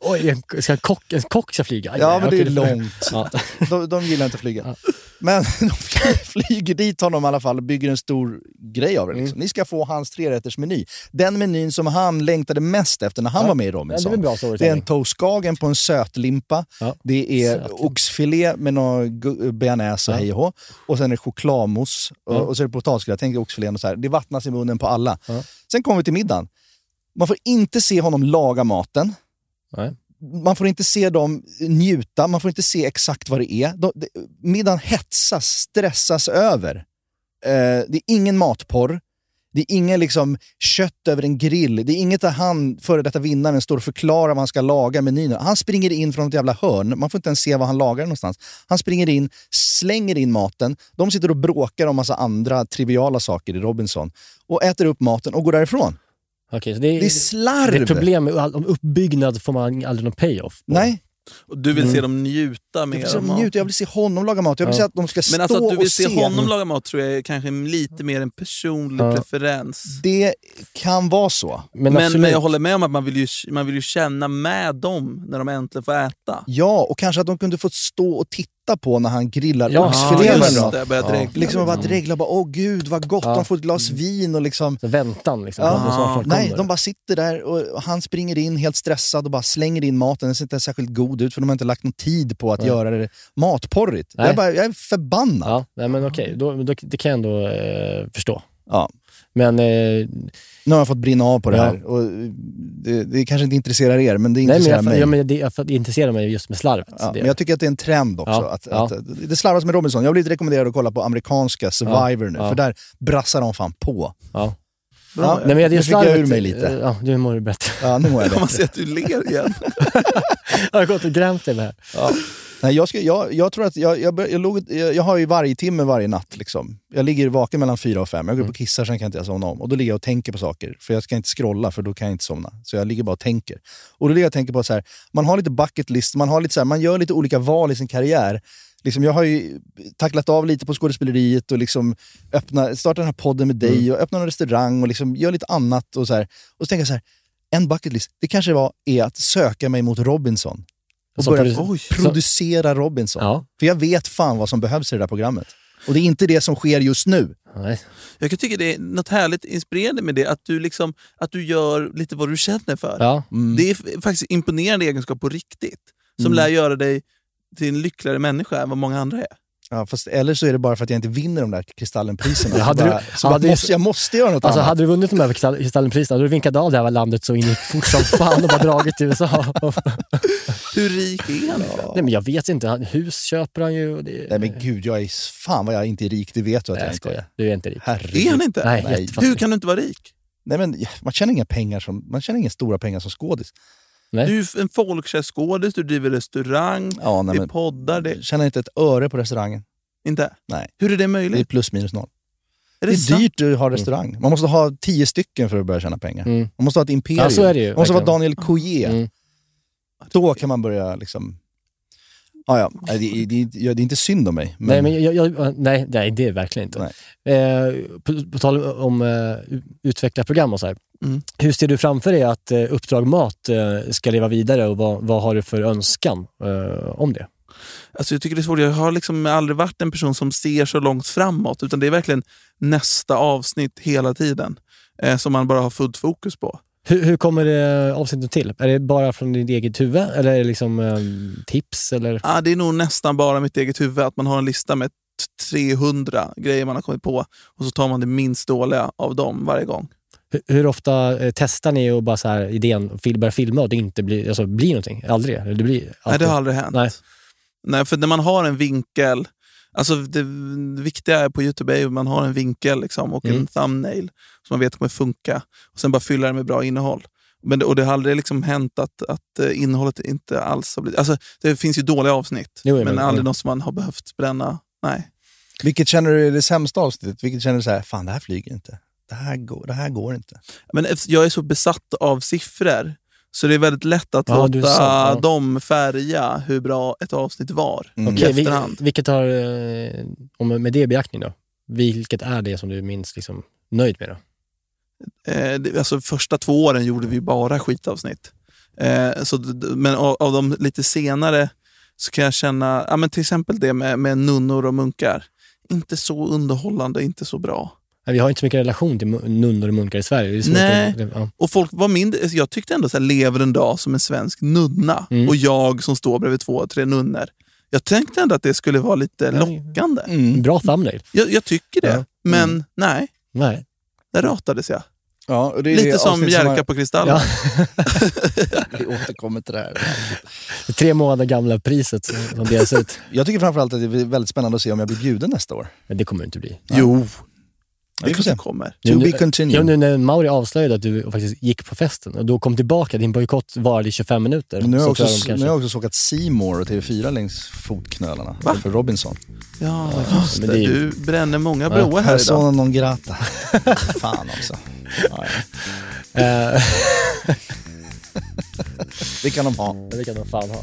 Speaker 6: Oj, en, ska en, kock, en kock ska flyga? Aj,
Speaker 4: Ja,
Speaker 6: nej,
Speaker 4: men det
Speaker 6: okej,
Speaker 4: är
Speaker 6: får jag-
Speaker 4: långt.
Speaker 6: Ja.
Speaker 4: De, de gillar inte att flyga. Men de fly- flyger dit honom i alla fall och bygger en stor grej av det.
Speaker 6: Mm.
Speaker 4: Liksom. Ni ska få hans trerättersmeny. Den menyn som han längtade mest efter när han var med i
Speaker 6: Ja, det är
Speaker 4: Robinson.
Speaker 6: väl bra
Speaker 4: det är en
Speaker 6: storytelling.
Speaker 4: toastkagen på en sötlimpa.
Speaker 6: Ja.
Speaker 4: Det är
Speaker 6: Sötlimpa.
Speaker 4: oxfilé med någon gu- bearnaise och hej och hå. Och sen är det chokladmousse. Och, och så är det potatisgratäng i oxfilén och så här. Det vattnas i munnen på alla.
Speaker 6: Ja.
Speaker 4: Sen kommer vi till middagen. Man får inte se honom laga maten.
Speaker 6: Nej.
Speaker 4: Man får inte se dem njuta, man får inte se exakt vad det är. De, de, middagen hetsas, stressas över. Eh, det är ingen matporr. Det är ingen liksom, kött över en grill. Det är inget där han, före detta vinnaren, står och förklarar vad han ska laga i menyn. Han springer in från ett jävla hörn. Man får inte ens se vad han lagar någonstans. Han springer in, slänger in maten. De sitter och bråkar om massa andra triviala saker i Robinson. Och äter upp maten och går därifrån.
Speaker 6: Okej, så det, är,
Speaker 4: Det är slarv!
Speaker 6: det är problem med all- om uppbyggnad får man aldrig någon payoff. på.
Speaker 4: Nej,
Speaker 5: Och du vill se dem njuta
Speaker 4: Mm. jag
Speaker 5: mer
Speaker 4: vill, se
Speaker 5: av
Speaker 4: dem
Speaker 5: maten.
Speaker 4: njuta. jag vill se honom laga mat. Jag vill
Speaker 6: Ja.
Speaker 4: se att de ska
Speaker 5: Men
Speaker 4: stå
Speaker 5: alltså att du vill
Speaker 4: och
Speaker 5: se
Speaker 4: se.
Speaker 5: honom laga mat tror jag är kanske lite mer en personlig
Speaker 6: Ja.
Speaker 5: preferens.
Speaker 4: Det kan vara så.
Speaker 6: Men,
Speaker 5: Men,
Speaker 6: absolut.
Speaker 5: men jag håller med om att man vill, ju, man vill ju känna med dem när de äntligen får äta.
Speaker 4: Ja, och kanske att de kunde få stå och titta på när han grillar
Speaker 6: Ja,
Speaker 4: oxfilé eller
Speaker 5: just
Speaker 4: något.
Speaker 5: det. Jag börjar dregla.
Speaker 4: Liksom och bara dreglar bara, åh gud vad gott,
Speaker 6: Ja.
Speaker 4: de får ett glas vin och liksom.
Speaker 6: så väntan liksom.
Speaker 4: Ja.
Speaker 6: på att det snart
Speaker 4: Nej,
Speaker 6: kommer.
Speaker 4: de bara sitter där och han springer in helt stressad och bara slänger in maten. Den ser inte ens särskilt god ut för de har inte lagt någon tid på att göra det matporrigt.
Speaker 6: Nej.
Speaker 4: Jag, bara, jag är förbannad.
Speaker 6: Ja, nej, men okej. Då, då, det kan jag ändå eh, förstå.
Speaker 4: Ja.
Speaker 6: Men eh,
Speaker 4: Nu har jag fått brinna av på det
Speaker 6: Ja.
Speaker 4: här. Och det, det kanske inte intresserar er, men det
Speaker 6: Nej, men
Speaker 4: intresserar
Speaker 6: jag,
Speaker 4: mig.
Speaker 6: ja, men det, jag, det intresserar mig just med slarvet.
Speaker 4: Ja,
Speaker 6: det,
Speaker 4: men jag tycker att det är en trend också.
Speaker 6: Ja,
Speaker 4: Att,
Speaker 6: ja.
Speaker 4: Att, det slarvas med Robinson. Jag har blivit rekommenderad att kolla på amerikanska Survivor nu,
Speaker 6: ja.
Speaker 4: för där brassar de fan på.
Speaker 6: ja.
Speaker 4: Ja,
Speaker 6: Nej, men jag, det
Speaker 4: nu
Speaker 6: är
Speaker 4: fick jag
Speaker 6: slarvet- eh,
Speaker 4: ur mig lite.
Speaker 6: Ja, nu mår du bättre.
Speaker 4: Ja, nu mår jag
Speaker 5: Kan man
Speaker 4: bättre.
Speaker 5: se att du ler igen?
Speaker 6: jag har gått och grämt dig med det här.
Speaker 4: Nej, jag, ska, jag, jag tror att jag, jag, bör- jag, låg, jag, jag har ju varje timme varje natt. Liksom. Jag ligger vaken mellan fyra och fem. Jag går upp och kissar, sen kan inte jag somna om. Och Då ligger jag och tänker på saker. För jag ska inte scrolla, för då kan jag inte somna. Så jag ligger bara och tänker. Och då ligger jag och tänker på så här, man har lite bucket list, man, har lite så här, man gör lite olika val i sin karriär. Liksom, jag har ju tacklat av lite på skådespeleriet och liksom öppna, startat den här podden med dig och öppnat en restaurang och liksom gör lite annat. Och så, här. och så tänker jag så här, en bucket list, det kanske var, är att söka mig mot Robinson. Och
Speaker 6: Som
Speaker 4: börja
Speaker 6: produ-
Speaker 4: oj,
Speaker 6: som-
Speaker 4: producera Robinson.
Speaker 6: Ja.
Speaker 4: För jag vet fan vad som behövs i det där programmet. Och det är inte det som sker just nu.
Speaker 6: Nej.
Speaker 5: Jag kan tycka det är något härligt inspirerande med det, att du, liksom, att du gör lite vad du känner för.
Speaker 6: Ja.
Speaker 5: Det är f- faktiskt imponerande egenskap på riktigt, som lär göra dig till en lyckligare människa än vad många andra är.
Speaker 4: Ja, fast, eller så är det bara för att jag inte vinner de där Kristallenpriserna. Så
Speaker 6: Ja, hade du-
Speaker 4: bara, så
Speaker 6: hade
Speaker 4: bara,
Speaker 6: du-
Speaker 4: måste, jag måste göra något
Speaker 6: Alltså,
Speaker 4: annat.
Speaker 6: hade du vunnit de här Kristall- Kristallenpriserna, hade du vinkat av det här landet så in i fort som fan och bara dragit till USA.
Speaker 5: Hur rik är han?
Speaker 6: Nej, men jag vet inte. Han- Hus köper han ju. Och det,
Speaker 4: Nej men gud, jag är, fan vad jag inte är rik, det vet du att
Speaker 6: Nej,
Speaker 4: jag
Speaker 6: jag
Speaker 4: inte är.
Speaker 6: skojar. Du är inte rik.
Speaker 5: Är
Speaker 4: Herregud.
Speaker 5: han inte?
Speaker 6: Nej,
Speaker 4: Nej.
Speaker 6: jättefattig.
Speaker 5: Hur kan du inte vara rik?
Speaker 4: Nej, men, man, tjänar inga pengar som, man tjänar inga stora pengar som skådis.
Speaker 6: Nej.
Speaker 5: Du är ju en folkkärskådis, du driver restaurang,
Speaker 4: Ja, nej,
Speaker 5: det är
Speaker 4: men-
Speaker 5: poddar. Det...
Speaker 4: Tjänar inte ett öre på restaurangen.
Speaker 5: Inte?
Speaker 4: Nej.
Speaker 5: Hur är det möjligt?
Speaker 4: Det är plus minus noll.
Speaker 5: är
Speaker 4: Det är
Speaker 5: det sant?
Speaker 4: dyrt att ha restaurang. Man måste ha tio stycken för att börja tjäna pengar.
Speaker 6: Mm.
Speaker 4: Man måste ha ett imperium.
Speaker 6: Ja, så är det ju,
Speaker 4: man måste vara Daniel
Speaker 6: verkligen.
Speaker 4: Coué.
Speaker 6: Mm.
Speaker 4: Då kan man börja liksom... Ah, ja. Nej, det, det, det, det är inte synd om mig. Men...
Speaker 6: Nej, men jag, jag, nej, nej, det är verkligen inte. Eh, på, på tal om eh, utveckla program och så här.
Speaker 5: Mm.
Speaker 6: Hur ser du framför dig att eh, Uppdrag Mat eh, ska leva vidare och vad, vad har du för önskan eh, om det?
Speaker 5: Alltså jag tycker det är svårt. Jag har liksom aldrig varit en person som ser så långt framåt. Utan det är verkligen nästa avsnitt hela tiden. Eh, som man bara har fullt fokus på.
Speaker 6: Hur, hur kommer det avsnittet till? Är det bara från ditt eget huvud eller är det liksom eh, tips? Eller?
Speaker 5: Ah, det är nog nästan bara mitt eget huvud. Att man har en lista med t- 300 grejer man har kommit på. Och så tar man det minst dåliga av dem varje gång.
Speaker 6: Hur, hur ofta eh, testar ni och bara så här, idén och fil, börja filma och det inte blir, alltså, blir någonting? Aldrig? Eller det blir
Speaker 5: Nej, det
Speaker 6: alltid-
Speaker 5: har aldrig hänt.
Speaker 6: Nej.
Speaker 5: Nej, för när man har en vinkel, alltså det viktiga är på Youtube är ju att man har en vinkel liksom, och en
Speaker 6: Mm.
Speaker 5: thumbnail som man vet kommer funka. Och Sen bara fylla det med bra innehåll. Men det, och det har aldrig liksom hänt att, att eh, innehållet inte alls har blivit... Alltså, det finns ju dåliga avsnitt,
Speaker 6: Jo, jag
Speaker 5: men
Speaker 6: menar,
Speaker 5: aldrig
Speaker 6: ja.
Speaker 5: något som man har behövt bränna. Nej.
Speaker 4: Vilket känner du är det sämsta avsnittet? Vilket känner du så här, fan det här flyger inte. Det här går, det här går inte.
Speaker 5: Men eftersom jag är så besatt av siffror, så det är väldigt lätt att
Speaker 6: Ja, du är
Speaker 5: låta
Speaker 6: sant, ja.
Speaker 5: dem färga hur bra ett avsnitt var.
Speaker 4: Mm.
Speaker 5: I
Speaker 6: Okej, vi,
Speaker 5: efterhand.
Speaker 6: vilket har, eh, om med det i beaktning då, vilket är det som du minst liksom nöjd med då?
Speaker 5: Eh, det, alltså första två åren gjorde vi bara skitavsnitt. Eh, så, d- d- men av, av de lite senare så kan jag känna, ja, men till exempel det med, med nunnor och munkar. Inte så underhållande, inte så bra.
Speaker 6: Nej, Äh, Vi har inte så mycket relation till mu- nunnor och munkar i Sverige. Det är svårt
Speaker 5: Nej.
Speaker 6: att- det- ja.
Speaker 5: Och folk var mindre, alltså jag tyckte ändå så här, lever en dag som en svensk nunna
Speaker 6: Mm.
Speaker 5: och jag som står bredvid två, tre nunnor. Jag tänkte ändå att det skulle vara lite
Speaker 6: Ja,
Speaker 5: lockande.
Speaker 4: Mm.
Speaker 6: Bra thumbnail.
Speaker 5: Jag, jag tycker det,
Speaker 6: Ja.
Speaker 5: men nej,
Speaker 6: Nej.
Speaker 5: där ratades jag.
Speaker 4: Ja, och det är
Speaker 5: Lite
Speaker 4: det
Speaker 5: som
Speaker 4: avsnitt
Speaker 5: Jerka
Speaker 4: har-
Speaker 5: på Kristallen.
Speaker 6: Ja,
Speaker 4: Vi återkommer till det här.
Speaker 6: det tre månader gamla priset som som delas ut.
Speaker 4: Jag tycker framförallt att det blir väldigt spännande att se om jag blir bjuden nästa år.
Speaker 6: Men det kommer det inte bli.
Speaker 5: Jo,
Speaker 4: Vi
Speaker 5: vi
Speaker 4: får
Speaker 5: får
Speaker 4: se.
Speaker 5: se. kommer.
Speaker 4: To
Speaker 6: Nu-
Speaker 4: be continued.
Speaker 6: Ja, nu när Mauri avslöjade att du faktiskt gick på festen och då kom tillbaka, din bojkott varade i 25 minuter.
Speaker 4: Men nu har
Speaker 6: så
Speaker 4: jag också,
Speaker 6: tror jag
Speaker 4: nu
Speaker 6: de kanske-
Speaker 4: har jag också såkat Seymour och TV4 längs fotknölarna. För Robinson.
Speaker 5: Ja, just det.
Speaker 6: men det är ju-
Speaker 5: Du bränner många broar här idag.
Speaker 4: Persona non grata. Fan också. Ja, ja.
Speaker 6: Eh,
Speaker 4: Det kan de ha.
Speaker 6: det kan de fan ha.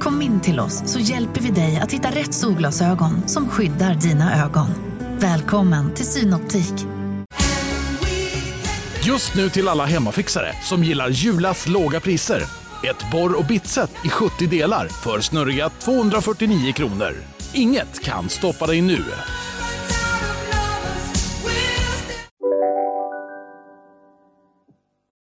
Speaker 12: Kom in till oss så hjälper vi dig att hitta rätt solglasögon som skyddar dina ögon. Välkommen till Synoptik.
Speaker 1: Just nu till alla hemmafixare som gillar Julas låga priser. Ett borr och bitset i 70 delar för snurriga 249 kronor. Inget kan stoppa dig nu.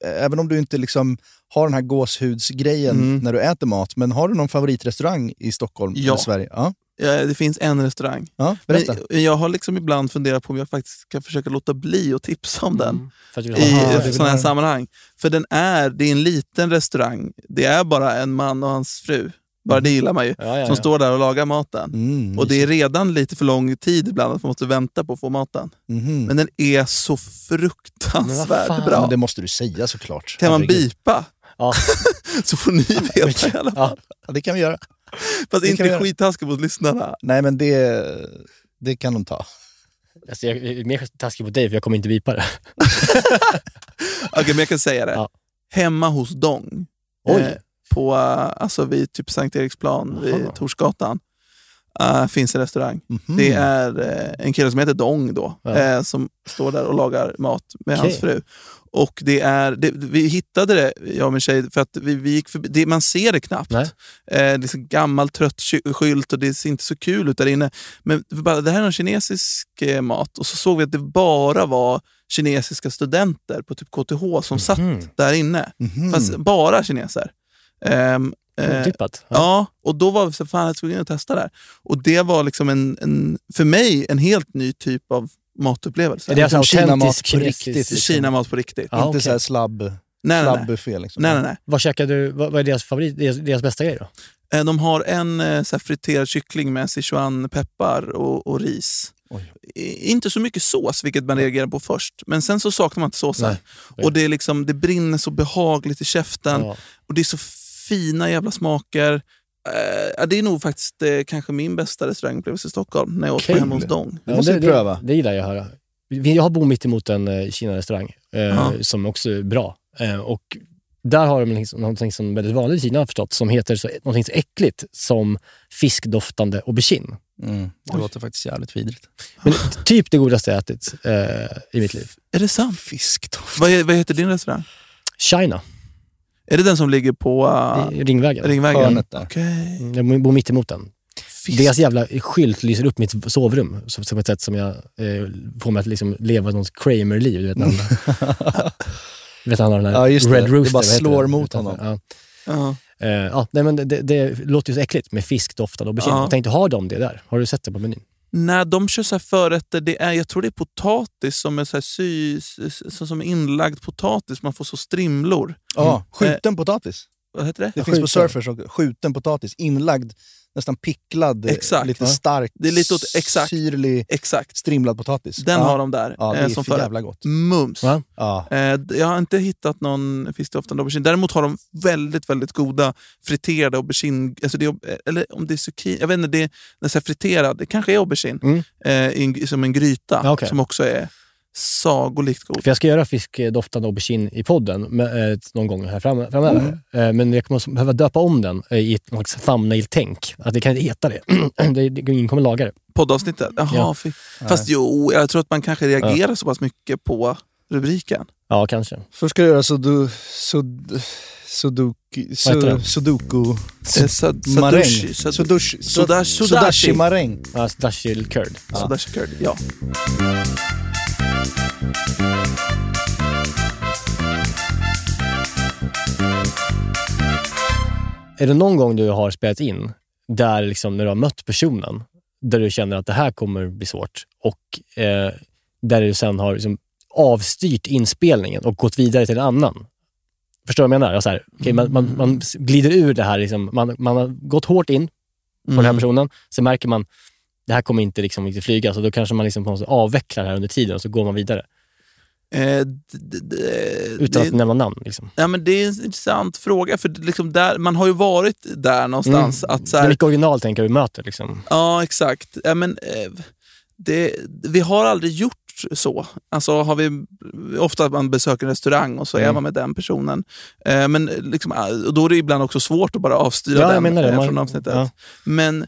Speaker 4: Även om du inte liksom har den här gåshudsgrejen när du äter mat, men har du någon favoritrestaurang i Stockholm
Speaker 5: Mm. Ja.
Speaker 4: eller Sverige? Ja.
Speaker 5: Ja, det finns en restaurang.
Speaker 4: ja
Speaker 5: Men
Speaker 4: berätta.
Speaker 5: jag har liksom ibland funderat på om jag faktiskt kan försöka låta bli att tipsa om den
Speaker 6: För att vi
Speaker 5: i
Speaker 6: har-
Speaker 4: det-
Speaker 5: sådana här sammanhang. För den är, det är en liten restaurang. Det är bara en man och hans fru. Bara det gillar man ju.
Speaker 6: Ja, ja,
Speaker 5: Som
Speaker 6: ja.
Speaker 5: står där och lagar maten.
Speaker 4: Mm,
Speaker 5: Och det är redan lite för lång tid ibland att man måste vänta på att få maten.
Speaker 4: Mhm.
Speaker 5: Men den är så fruktansvärt
Speaker 4: Ja,
Speaker 5: bra.
Speaker 4: men det måste du säga såklart.
Speaker 5: Kan man
Speaker 4: Herregud.
Speaker 5: bipa
Speaker 6: Ja.
Speaker 5: så får ni veta i alla fall.
Speaker 6: Ja.
Speaker 4: Ja, det kan vi göra.
Speaker 5: Fast
Speaker 4: det kan vi
Speaker 5: inte
Speaker 4: göra.
Speaker 5: skittaskigt mot lyssnarna.
Speaker 4: Nej, men det, det kan de ta.
Speaker 6: Alltså, jag är mer taskig mot dig för jag kommer inte bipa det.
Speaker 5: Okej, men jag kan säga det.
Speaker 6: Ja.
Speaker 5: Hemma hos Dong.
Speaker 6: Oj.
Speaker 5: Eh, på, eh, alltså vid typ Sankt Eriksplan, vid Torsgatan, eh, finns en restaurang.
Speaker 4: Mhm.
Speaker 5: Det är eh, en kille som heter Dong då,
Speaker 6: Mm. Ja.
Speaker 5: eh, som står där och lagar mat med
Speaker 6: Okej.
Speaker 5: hans fru. Och det är, det, vi hittade det, jag och min tjej, för att vi, vi gick förbi, det, man ser det knappt. Eh, det är så gammal trött ky- skylt och det ser inte så kul ut där inne. Men vi bara, det här är någon kinesisk eh, mat. Och så såg vi att det bara var kinesiska studenter på typ KTH som
Speaker 6: Mhm.
Speaker 5: satt där inne.
Speaker 4: Mhm.
Speaker 6: Mm.
Speaker 5: Fast bara kineser. Ehm, eh,
Speaker 6: Otippat.
Speaker 5: Ja. och då var vi så fan jag skulle in och testa där. Och det var liksom en, en, för mig en helt ny typ av matupplevelse.
Speaker 6: Är det alltså
Speaker 5: Liksom
Speaker 6: autentisk
Speaker 5: Kinamat på
Speaker 6: kinesisk-
Speaker 5: riktigt? Kinamat på riktigt. Mm.
Speaker 6: Ja, Inte okej. så här
Speaker 4: slabb,
Speaker 5: nej, nej.
Speaker 4: slabbbuffé liksom.
Speaker 5: Nej, nej, nej.
Speaker 6: Vad käkar du? Vad, vad är deras favorit? Deras, deras bästa grej då?
Speaker 5: Eh, De har en eh, så här, friterad kyckling med sichuanpeppar och, och ris. I- Inte så mycket sås, vilket man reagerar på först. Men sen så saknar man inte såsen. Och det, är liksom, det brinner så behagligt i käften.
Speaker 6: Ja.
Speaker 5: Och det är så fina jävla smaker. Eh, ja, det är nog faktiskt eh, kanske min bästa restaurangupplevelse i Stockholm, när jag åt på hemma hos Dong.
Speaker 6: Ja, det, Det, det gillar jag att höra. Vi- Jag har bott mitt emot en eh, Kina-restaurang eh,
Speaker 5: Ja.
Speaker 6: som också är bra. Eh, och där har de liksom, någonting som är väldigt vanligt i Kina har jag förstått, som heter så, någonting så äckligt som fiskdoftande aubergine.
Speaker 13: Mm, det låter faktiskt jävligt vidrigt.
Speaker 6: Men
Speaker 4: Ah.
Speaker 6: typ det godaste jag ätit eh, i mitt liv.
Speaker 5: Är det sant? Fiskdoft. Vad, he- vad heter din restaurang?
Speaker 6: China.
Speaker 5: Är det den som ligger på...
Speaker 4: Ah.
Speaker 5: eh,
Speaker 6: I Ringvägen.
Speaker 5: Ringvägen. Hörnet där.
Speaker 6: Mm, Jag bor mitt emot den. Deras jävla skylt lyser upp mitt sovrum så- som ett sätt som jag eh, får mig att liksom leva något Kramer-liv. Du vet, när han, vet han har den här
Speaker 4: Ja, just det.
Speaker 6: Red
Speaker 4: Det
Speaker 6: Rooster.
Speaker 4: bara
Speaker 6: vad heter
Speaker 4: slår
Speaker 6: den?
Speaker 4: mot
Speaker 6: Utanför.
Speaker 4: honom.
Speaker 6: Ja.
Speaker 5: Ja.
Speaker 6: Eh, ja, nej, men det, det låter ju så äckligt med fiskdoftande aubergine.
Speaker 5: Ja.
Speaker 6: Jag tänkte, har de det där? Har du sett det på menyn?
Speaker 5: När de kör så här förrätter, det är, jag tror det är potatis som är, så här sy, så, som är inlagd potatis. Man får så strimlor.
Speaker 4: Ja, eh,
Speaker 5: Mm.
Speaker 4: skjuten potatis.
Speaker 5: Vad heter det?
Speaker 4: Det finns på Surfers också. Skjuten potatis, inlagd, nästan picklad, eh,
Speaker 5: Exakt.
Speaker 4: lite
Speaker 5: Ja.
Speaker 4: stark,
Speaker 5: Det är lite åt- exakt.
Speaker 4: syrlig, strimlad potatis.
Speaker 5: Den
Speaker 4: Ja.
Speaker 5: har de där.
Speaker 4: Ja, det
Speaker 5: eh,
Speaker 4: är
Speaker 5: som
Speaker 4: för
Speaker 5: förrätt.
Speaker 4: jävla gott.
Speaker 5: Mums.
Speaker 4: Ja.
Speaker 5: Eh, d- jag har inte hittat någon fiskdoftande aubergine. Däremot har de väldigt, väldigt goda friterade aubergine... Alltså det, är- eller om det är zucchini. Jag vet inte, det är när jag säger friterad. Det kanske är aubergine. Eh, i en, som en gryta
Speaker 6: Ja, Mm. Ah, okej.
Speaker 5: som också är sagolikt god.
Speaker 6: För jag ska göra fiskdoftande aubergine i podden med, eh, någon gång här fram, framöver. Eh, men jag kommer att behöva döpa om den eh, i ett något slags thumbnail-tänk. Att det kan inte heta det. det, det ingen kommer laga det.
Speaker 5: Poddavsnittet? Jaha,
Speaker 6: Ja.
Speaker 5: fy-
Speaker 6: Nej.
Speaker 5: Fast jo, jag tror att man kanske reagerar
Speaker 6: Ja.
Speaker 5: så pass mycket på rubriken.
Speaker 6: Ja, kanske.
Speaker 4: Först ska du göra sudu, sud, sudoku,
Speaker 5: Vad heter
Speaker 4: su,
Speaker 5: det?
Speaker 4: sudoku...
Speaker 5: Eh, sad-
Speaker 4: maräng.
Speaker 5: sadushi, sad-
Speaker 4: Sudushi-
Speaker 5: sudashi-
Speaker 4: sud- Sudashi maräng.
Speaker 6: Ja, Sudashi curd.
Speaker 5: Sudashi curd, ja.
Speaker 6: Är det någon gång du har spelat in där liksom när du har mött personen, där du känner att det här kommer bli svårt och eh, där du sen har liksom avstyrt inspelningen och gått vidare till en annan? Förstår du vad jag menar? Så här, okej,
Speaker 5: Mm.
Speaker 6: man, man, man glider ur det här. Liksom, man, man har gått hårt in på den här
Speaker 5: Mm.
Speaker 6: personen. Sen märker man det här kommer inte liksom, riktigt flyga, så då kanske man liksom på något sätt avvecklar det här under tiden och så går man vidare.
Speaker 5: Eh, d- d- d-
Speaker 6: Utan
Speaker 5: det-
Speaker 6: att nämna namn. Liksom.
Speaker 5: Ja, men det är en intressant fråga, för det- liksom där, man har ju varit där någonstans.
Speaker 6: Mm.
Speaker 5: Att så
Speaker 6: Det är
Speaker 5: här,
Speaker 6: mycket original tänker jag vi möter. Liksom.
Speaker 5: ja, exakt. Ja, men, eh, det, vi har aldrig gjort så. Alltså, har vi, ofta att man besöker en restaurang och så är
Speaker 6: Mm.
Speaker 5: man med den personen. Eh, men liksom, eh, och Då är det ibland också svårt att bara avstyra
Speaker 6: Ja, jag
Speaker 5: den
Speaker 6: menar det.
Speaker 5: eh,
Speaker 6: Man-
Speaker 5: från avsnittet.
Speaker 6: ja.
Speaker 5: Men,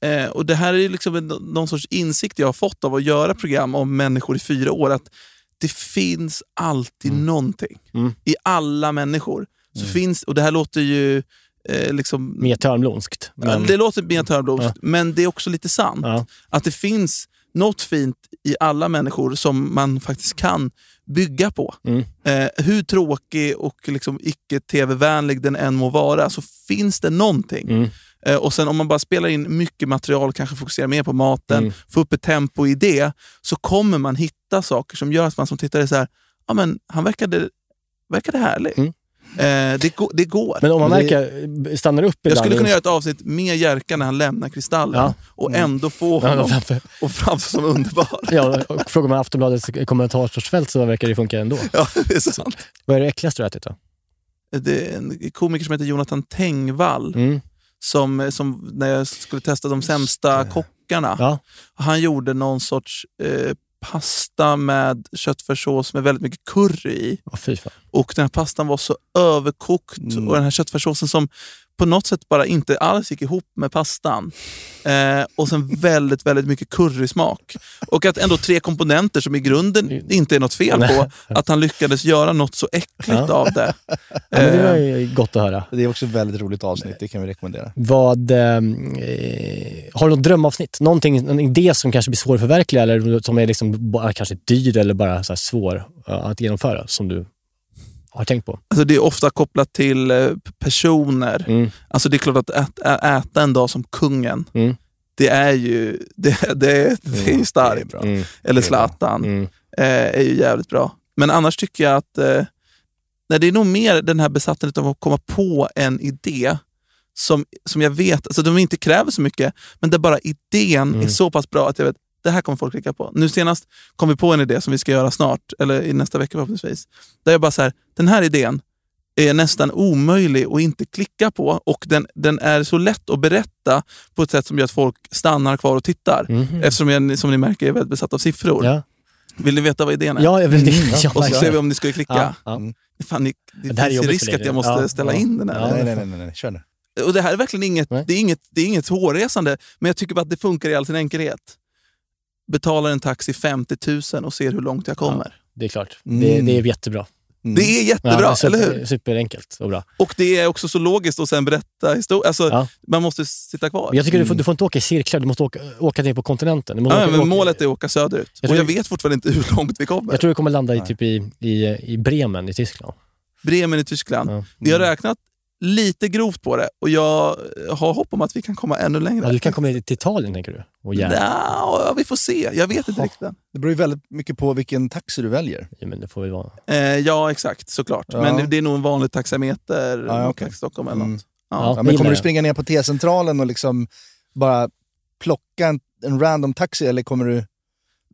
Speaker 5: eh, och det här är ju liksom en, någon sorts insikt jag har fått av att göra program om människor i fyra år. Att det finns alltid
Speaker 6: Mm.
Speaker 5: någonting i alla människor. Så finns, och det här låter ju eh, liksom...
Speaker 6: Mer törnblomskt. men-
Speaker 5: Ja, Det låter mer törnblomskt, men det är också lite sant. Att det finns något fint i alla människor som man faktiskt kan bygga på.
Speaker 6: Mm.
Speaker 5: Eh, hur tråkig och liksom icke-tv-vänlig den än må vara, så finns det någonting.
Speaker 6: Mm.
Speaker 5: Eh, och sen om man bara spelar in mycket material, kanske fokuserar mer på maten,
Speaker 6: Mm.
Speaker 5: får upp ett tempo i det, så kommer man hitta saker som gör att man som tittare är så här, ja men han verkade, verkade härlig. Eh, det, gå- det går.
Speaker 6: Mm. Men om man
Speaker 5: Det-
Speaker 6: märker, stannar upp
Speaker 5: jag
Speaker 6: ibland
Speaker 5: skulle
Speaker 6: i-
Speaker 5: kunna göra ett avsnitt med Jerka när han lämnar Kristallen
Speaker 6: Ja.
Speaker 5: och
Speaker 6: Mm.
Speaker 5: ändå få
Speaker 6: Ja,
Speaker 5: honom
Speaker 6: men framför-
Speaker 5: och framstå som underbar.
Speaker 6: Ja, och frågar man Aftonbladets kommentarsfält så verkar det funka ändå.
Speaker 5: Ja, det är sant.
Speaker 6: Vad är det äckligaste du har ätit då?
Speaker 5: Det är en komiker som heter Jonathan Tengvall
Speaker 6: Mm.
Speaker 5: som, som när jag skulle testa de sämsta kockarna, han gjorde någon sorts eh, pasta med köttfärssås med väldigt mycket curry i.
Speaker 6: Åh, fy fan. Mm.
Speaker 5: Och den här pastan var så överkokt och den här köttfärssåsen som på något sätt bara inte alls gick ihop med pastan. Eh, och sen väldigt, väldigt mycket currysmak. Och att ändå tre komponenter som i
Speaker 6: Mm.
Speaker 5: grunden inte är något fel på, att han lyckades göra något så äckligt
Speaker 6: Ja.
Speaker 5: av det. Eh,
Speaker 6: Ja, men det var ju gott att höra.
Speaker 4: Det är också ett väldigt roligt avsnitt, det kan vi rekommendera.
Speaker 6: Vad, eh, har du något drömavsnitt? Någonting, någon idé som kanske blir svår att förverkliga eller som är liksom bara, kanske dyr eller bara så här svår ja, att genomföra som du har tänkt på?
Speaker 5: Alltså det är ofta kopplat till eh, personer.
Speaker 6: Mm.
Speaker 5: Alltså det är klart att ät, ä- äta en dag som kungen,
Speaker 6: Mm.
Speaker 5: det är ju det, det, det är ju starkt. Eller Zlatan
Speaker 6: Mm.
Speaker 5: eh, är ju jävligt bra. Men annars tycker jag att eh, nej, det är nog mer den här besattheten av att komma på en idé som, som jag vet, alltså de inte kräver så mycket, men där bara idén
Speaker 14: Mm.
Speaker 5: är så pass bra att jag vet det här kommer folk klicka på. Nu senast kom vi på en idé som vi ska göra snart, eller i nästa vecka förhoppningsvis. Där jag bara så här, den här idén är nästan omöjlig att inte klicka på och den, den är så lätt att berätta på ett sätt som gör att folk stannar kvar och tittar.
Speaker 6: Mhm.
Speaker 5: Eftersom jag, som ni märker, är väldigt besatt av siffror.
Speaker 6: Ja.
Speaker 5: Vill ni veta vad idén är?
Speaker 6: Ja, jag vill det.
Speaker 5: Mm.
Speaker 6: Ja,
Speaker 5: och så
Speaker 6: verkligen.
Speaker 5: ser vi om Mm. ni skulle klicka.
Speaker 6: Ja, ja.
Speaker 5: Fan, ni, det,
Speaker 6: Det här är
Speaker 5: finns
Speaker 6: jobbigt
Speaker 5: ju
Speaker 6: för
Speaker 5: risk
Speaker 6: dig,
Speaker 5: att
Speaker 6: det.
Speaker 5: jag måste
Speaker 6: Ja,
Speaker 5: ställa
Speaker 6: ja.
Speaker 5: in den
Speaker 6: Ja,
Speaker 5: här.
Speaker 6: nej, nej,
Speaker 4: nej, nej, kör nu.
Speaker 5: Och det här är verkligen inget, det är inget, det är inget hårresande, men jag tycker bara att det funkar i all sin enkelhet. Betalar en taxi 50 000 och ser hur långt jag kommer.
Speaker 6: Det är klart.
Speaker 5: Mm.
Speaker 6: Det, det är jättebra.
Speaker 5: Det
Speaker 4: Mm.
Speaker 5: är jättebra,
Speaker 6: Ja, super,
Speaker 5: eller hur?
Speaker 6: Superenkelt och bra.
Speaker 5: Och det är också så logiskt att sen berätta historia. Alltså,
Speaker 6: Ja.
Speaker 5: Man måste sitta kvar.
Speaker 6: Men Jag tycker du, får,
Speaker 5: Mm.
Speaker 6: du får inte åka i cirklar, du måste åka, åka ner på kontinenten. Du måste
Speaker 5: ja,
Speaker 6: åka,
Speaker 5: men
Speaker 6: åka,
Speaker 5: målet är att åka söderut.
Speaker 6: Jag
Speaker 5: och jag
Speaker 6: tror-
Speaker 5: vet fortfarande inte hur långt vi kommer.
Speaker 6: jag tror du kommer landa i, typ i, i, i Bremen i Tyskland. mm.
Speaker 5: Bremen i Tyskland. Vi har räknat lite grovt på det och jag har hopp om att vi kan komma ännu längre.
Speaker 6: Ja, du kan komma hit till Italien, tänker du? Och
Speaker 5: Nja,
Speaker 6: Gävle.
Speaker 5: ja, vi får se. Jag vet inte riktigt än.
Speaker 4: Det beror ju väldigt mycket på vilken taxi du väljer.
Speaker 6: Ja, men det får väl vara.
Speaker 5: Eh, ja, exakt. Såklart.
Speaker 4: Ja.
Speaker 5: Men det, det är nog en vanlig taxameter,
Speaker 4: Ja,
Speaker 5: ja,
Speaker 4: okej. Mm.
Speaker 5: Stockholm eller något.
Speaker 4: Ja, men kommer du springa ner på T-centralen och liksom bara plocka en, en random taxi eller kommer du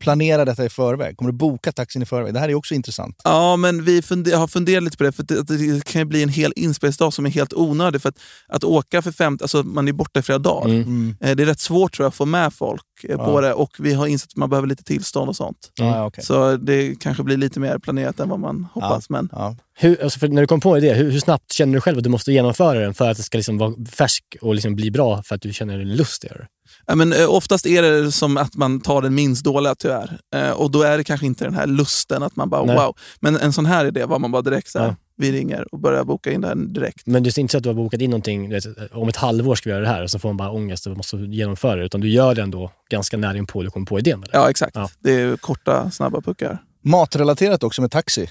Speaker 4: planera detta i förväg? Kommer du boka taxin i förväg? Det här är också intressant.
Speaker 5: Ja, men vi funde- har funderat lite på det, för det, det kan ju bli en hel inspelningsdag som är helt onödig. För att, att åka för fem, alltså man är borta i flera dagar.
Speaker 4: Mm.
Speaker 5: Eh, Det är rätt svårt tror jag att få med folk eh, på
Speaker 4: Ja.
Speaker 5: det och vi har insett att man behöver lite tillstånd och sånt.
Speaker 6: Ja, ja, okej.
Speaker 5: Så det kanske blir lite mer planerat än vad man hoppas. Men
Speaker 6: Hur, alltså för när du kom på det, hur, hur snabbt känner du själv att du måste genomföra den för att det ska liksom vara färsk och liksom bli bra för att du känner en lust att göra det?
Speaker 5: Ja, men, eh, oftast är det som att man tar den minst dåliga tyvärr. Eh, och då är det kanske inte den här lusten att man bara
Speaker 6: Nej.
Speaker 5: wow. Men en sån här idé var man bara direkt så här,
Speaker 6: Ja.
Speaker 5: vi ringer och börjar boka in den direkt.
Speaker 6: Men det är inte så att du har bokat in någonting, du vet, om ett halvår ska vi göra det här, och så får man bara ångest och måste genomföra det, utan du gör det ändå ganska nära inpå du kommer på idén. Eller?
Speaker 5: Ja, exakt. Det är korta, snabba puckar.
Speaker 4: Matrelaterat också med taxi.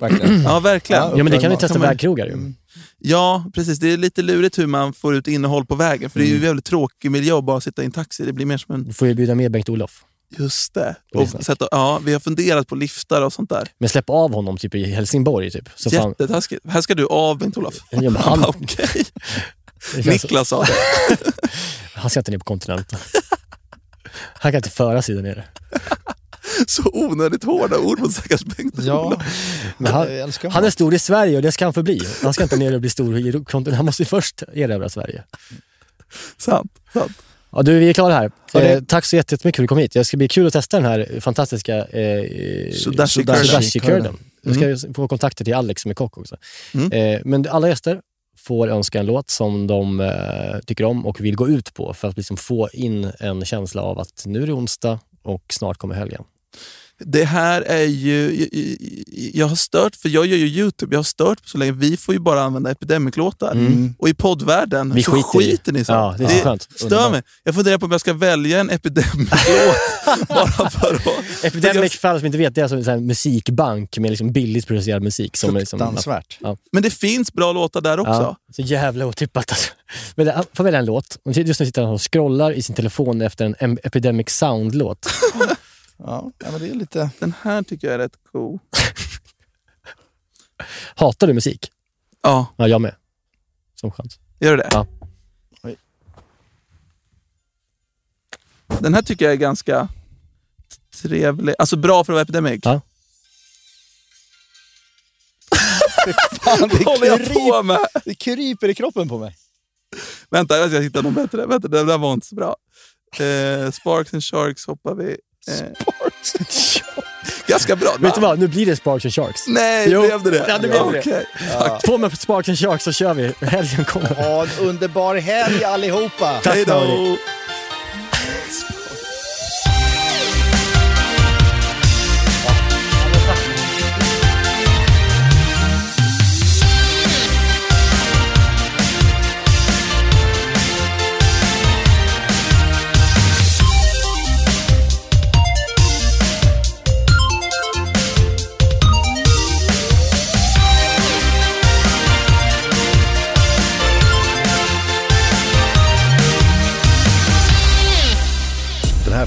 Speaker 4: Verkligen.
Speaker 5: Ja, verkligen.
Speaker 6: Ja, men det kan du testa
Speaker 5: Kan man-
Speaker 6: vägkrogar ju.
Speaker 5: Ja, precis. Det är lite lurigt hur man får ut innehåll på vägen. För
Speaker 6: Mm.
Speaker 5: det är ju en jävligt tråkig miljö att bara sitta i en taxi. Det blir mer som en...
Speaker 6: Du får ju bjuda med Bengt-Olof.
Speaker 5: Just det.
Speaker 6: Mm. Det är
Speaker 5: Och
Speaker 6: sant.
Speaker 5: sätta, ja, vi har funderat på liftar och sånt där.
Speaker 6: Men släpp av honom typ i Helsingborg. Typ. Så fan,
Speaker 5: Jättetaskigt. Här ska du av Bengt-Olof.
Speaker 6: Ja, men han-
Speaker 5: Han bara, Okej.
Speaker 6: Det känns-
Speaker 5: Niklas sa det.
Speaker 6: han ska inte ner på kontinenten. han kan inte föra sig där nere.
Speaker 5: Så onödigt hårda ord mot stackars Bengt-Olof.
Speaker 6: Men han, han är stor i Sverige och det ska han förbli. Han ska inte ner och bli stor i kontinenten. Han måste ju först erövra Sverige.
Speaker 5: Sant. sant.
Speaker 6: Ja, du, vi är klara här.
Speaker 5: Ja, det-
Speaker 6: Eh, tack så jätte- jättemycket för att du kom hit. Det ska bli kul att testa den här fantastiska eh,
Speaker 5: Sudashi
Speaker 6: sudashi-
Speaker 5: curden.
Speaker 6: curden. Jag ska
Speaker 5: Mm.
Speaker 6: ju få kontakter till Alex som är kock också. Eh, men alla gäster får önska en låt som de eh, tycker om och vill gå ut på för att liksom få in en känsla av att nu är det onsdag och snart kommer helgen.
Speaker 5: Det här är ju... Jag, jag- jag har stört, för jag gör ju YouTube, jag har stört på så länge. Vi får ju bara använda Epidemic-låtar.
Speaker 6: Mm.
Speaker 5: Och i poddvärlden
Speaker 6: Vi
Speaker 5: så
Speaker 6: skiter i.
Speaker 5: skiter ni så.
Speaker 6: Ja, det är så skönt.
Speaker 5: stör
Speaker 6: Underbart.
Speaker 5: mig. Jag funderar på om jag ska välja en Epidemic-låt bara för att...
Speaker 6: Epidemic, för alla som inte vet, det är alltså en sån här musikbank med liksom billigt producerad musik. Som är som,
Speaker 5: Fruktansvärt.
Speaker 6: Ja.
Speaker 5: Men det finns bra låtar där också.
Speaker 6: Ja, så jävla otippat alltså. Men det, han får välja en låt. Och Just nu sitter han och scrollar i sin telefon efter en Em- Epidemic Sound-låt.
Speaker 4: Ja, ja, men det är lite...
Speaker 5: Den här tycker jag är rätt cool.
Speaker 6: Hatar du musik?
Speaker 5: Ja.
Speaker 6: Ja, jag med. Som chans.
Speaker 5: Gör du det?
Speaker 6: Ja.
Speaker 5: Den här tycker jag är ganska trevlig. Alltså bra för att vara Epidemic.
Speaker 6: Ja.
Speaker 4: Fan, det,
Speaker 5: Vad håller jag på med?
Speaker 4: det kryper i kroppen på mig.
Speaker 5: Vänta, jag ska hitta någon bättre. Vänta, den där var inte så bra. Eh, Sparks and Sharks hoppar vi. Eh. Sparks and Sharks? Ganska bra.
Speaker 6: Vet du vad, nu blir det Sparks and Sharks.
Speaker 5: Nej, blev det det?
Speaker 6: Ja, det blev det.
Speaker 5: Okej.
Speaker 6: Ja. På med Sparks and Sharks så kör vi. Helgen kommer.
Speaker 4: Ha en underbar helg allihopa!
Speaker 6: Tack, Hej då. Mauri.
Speaker 14: Den här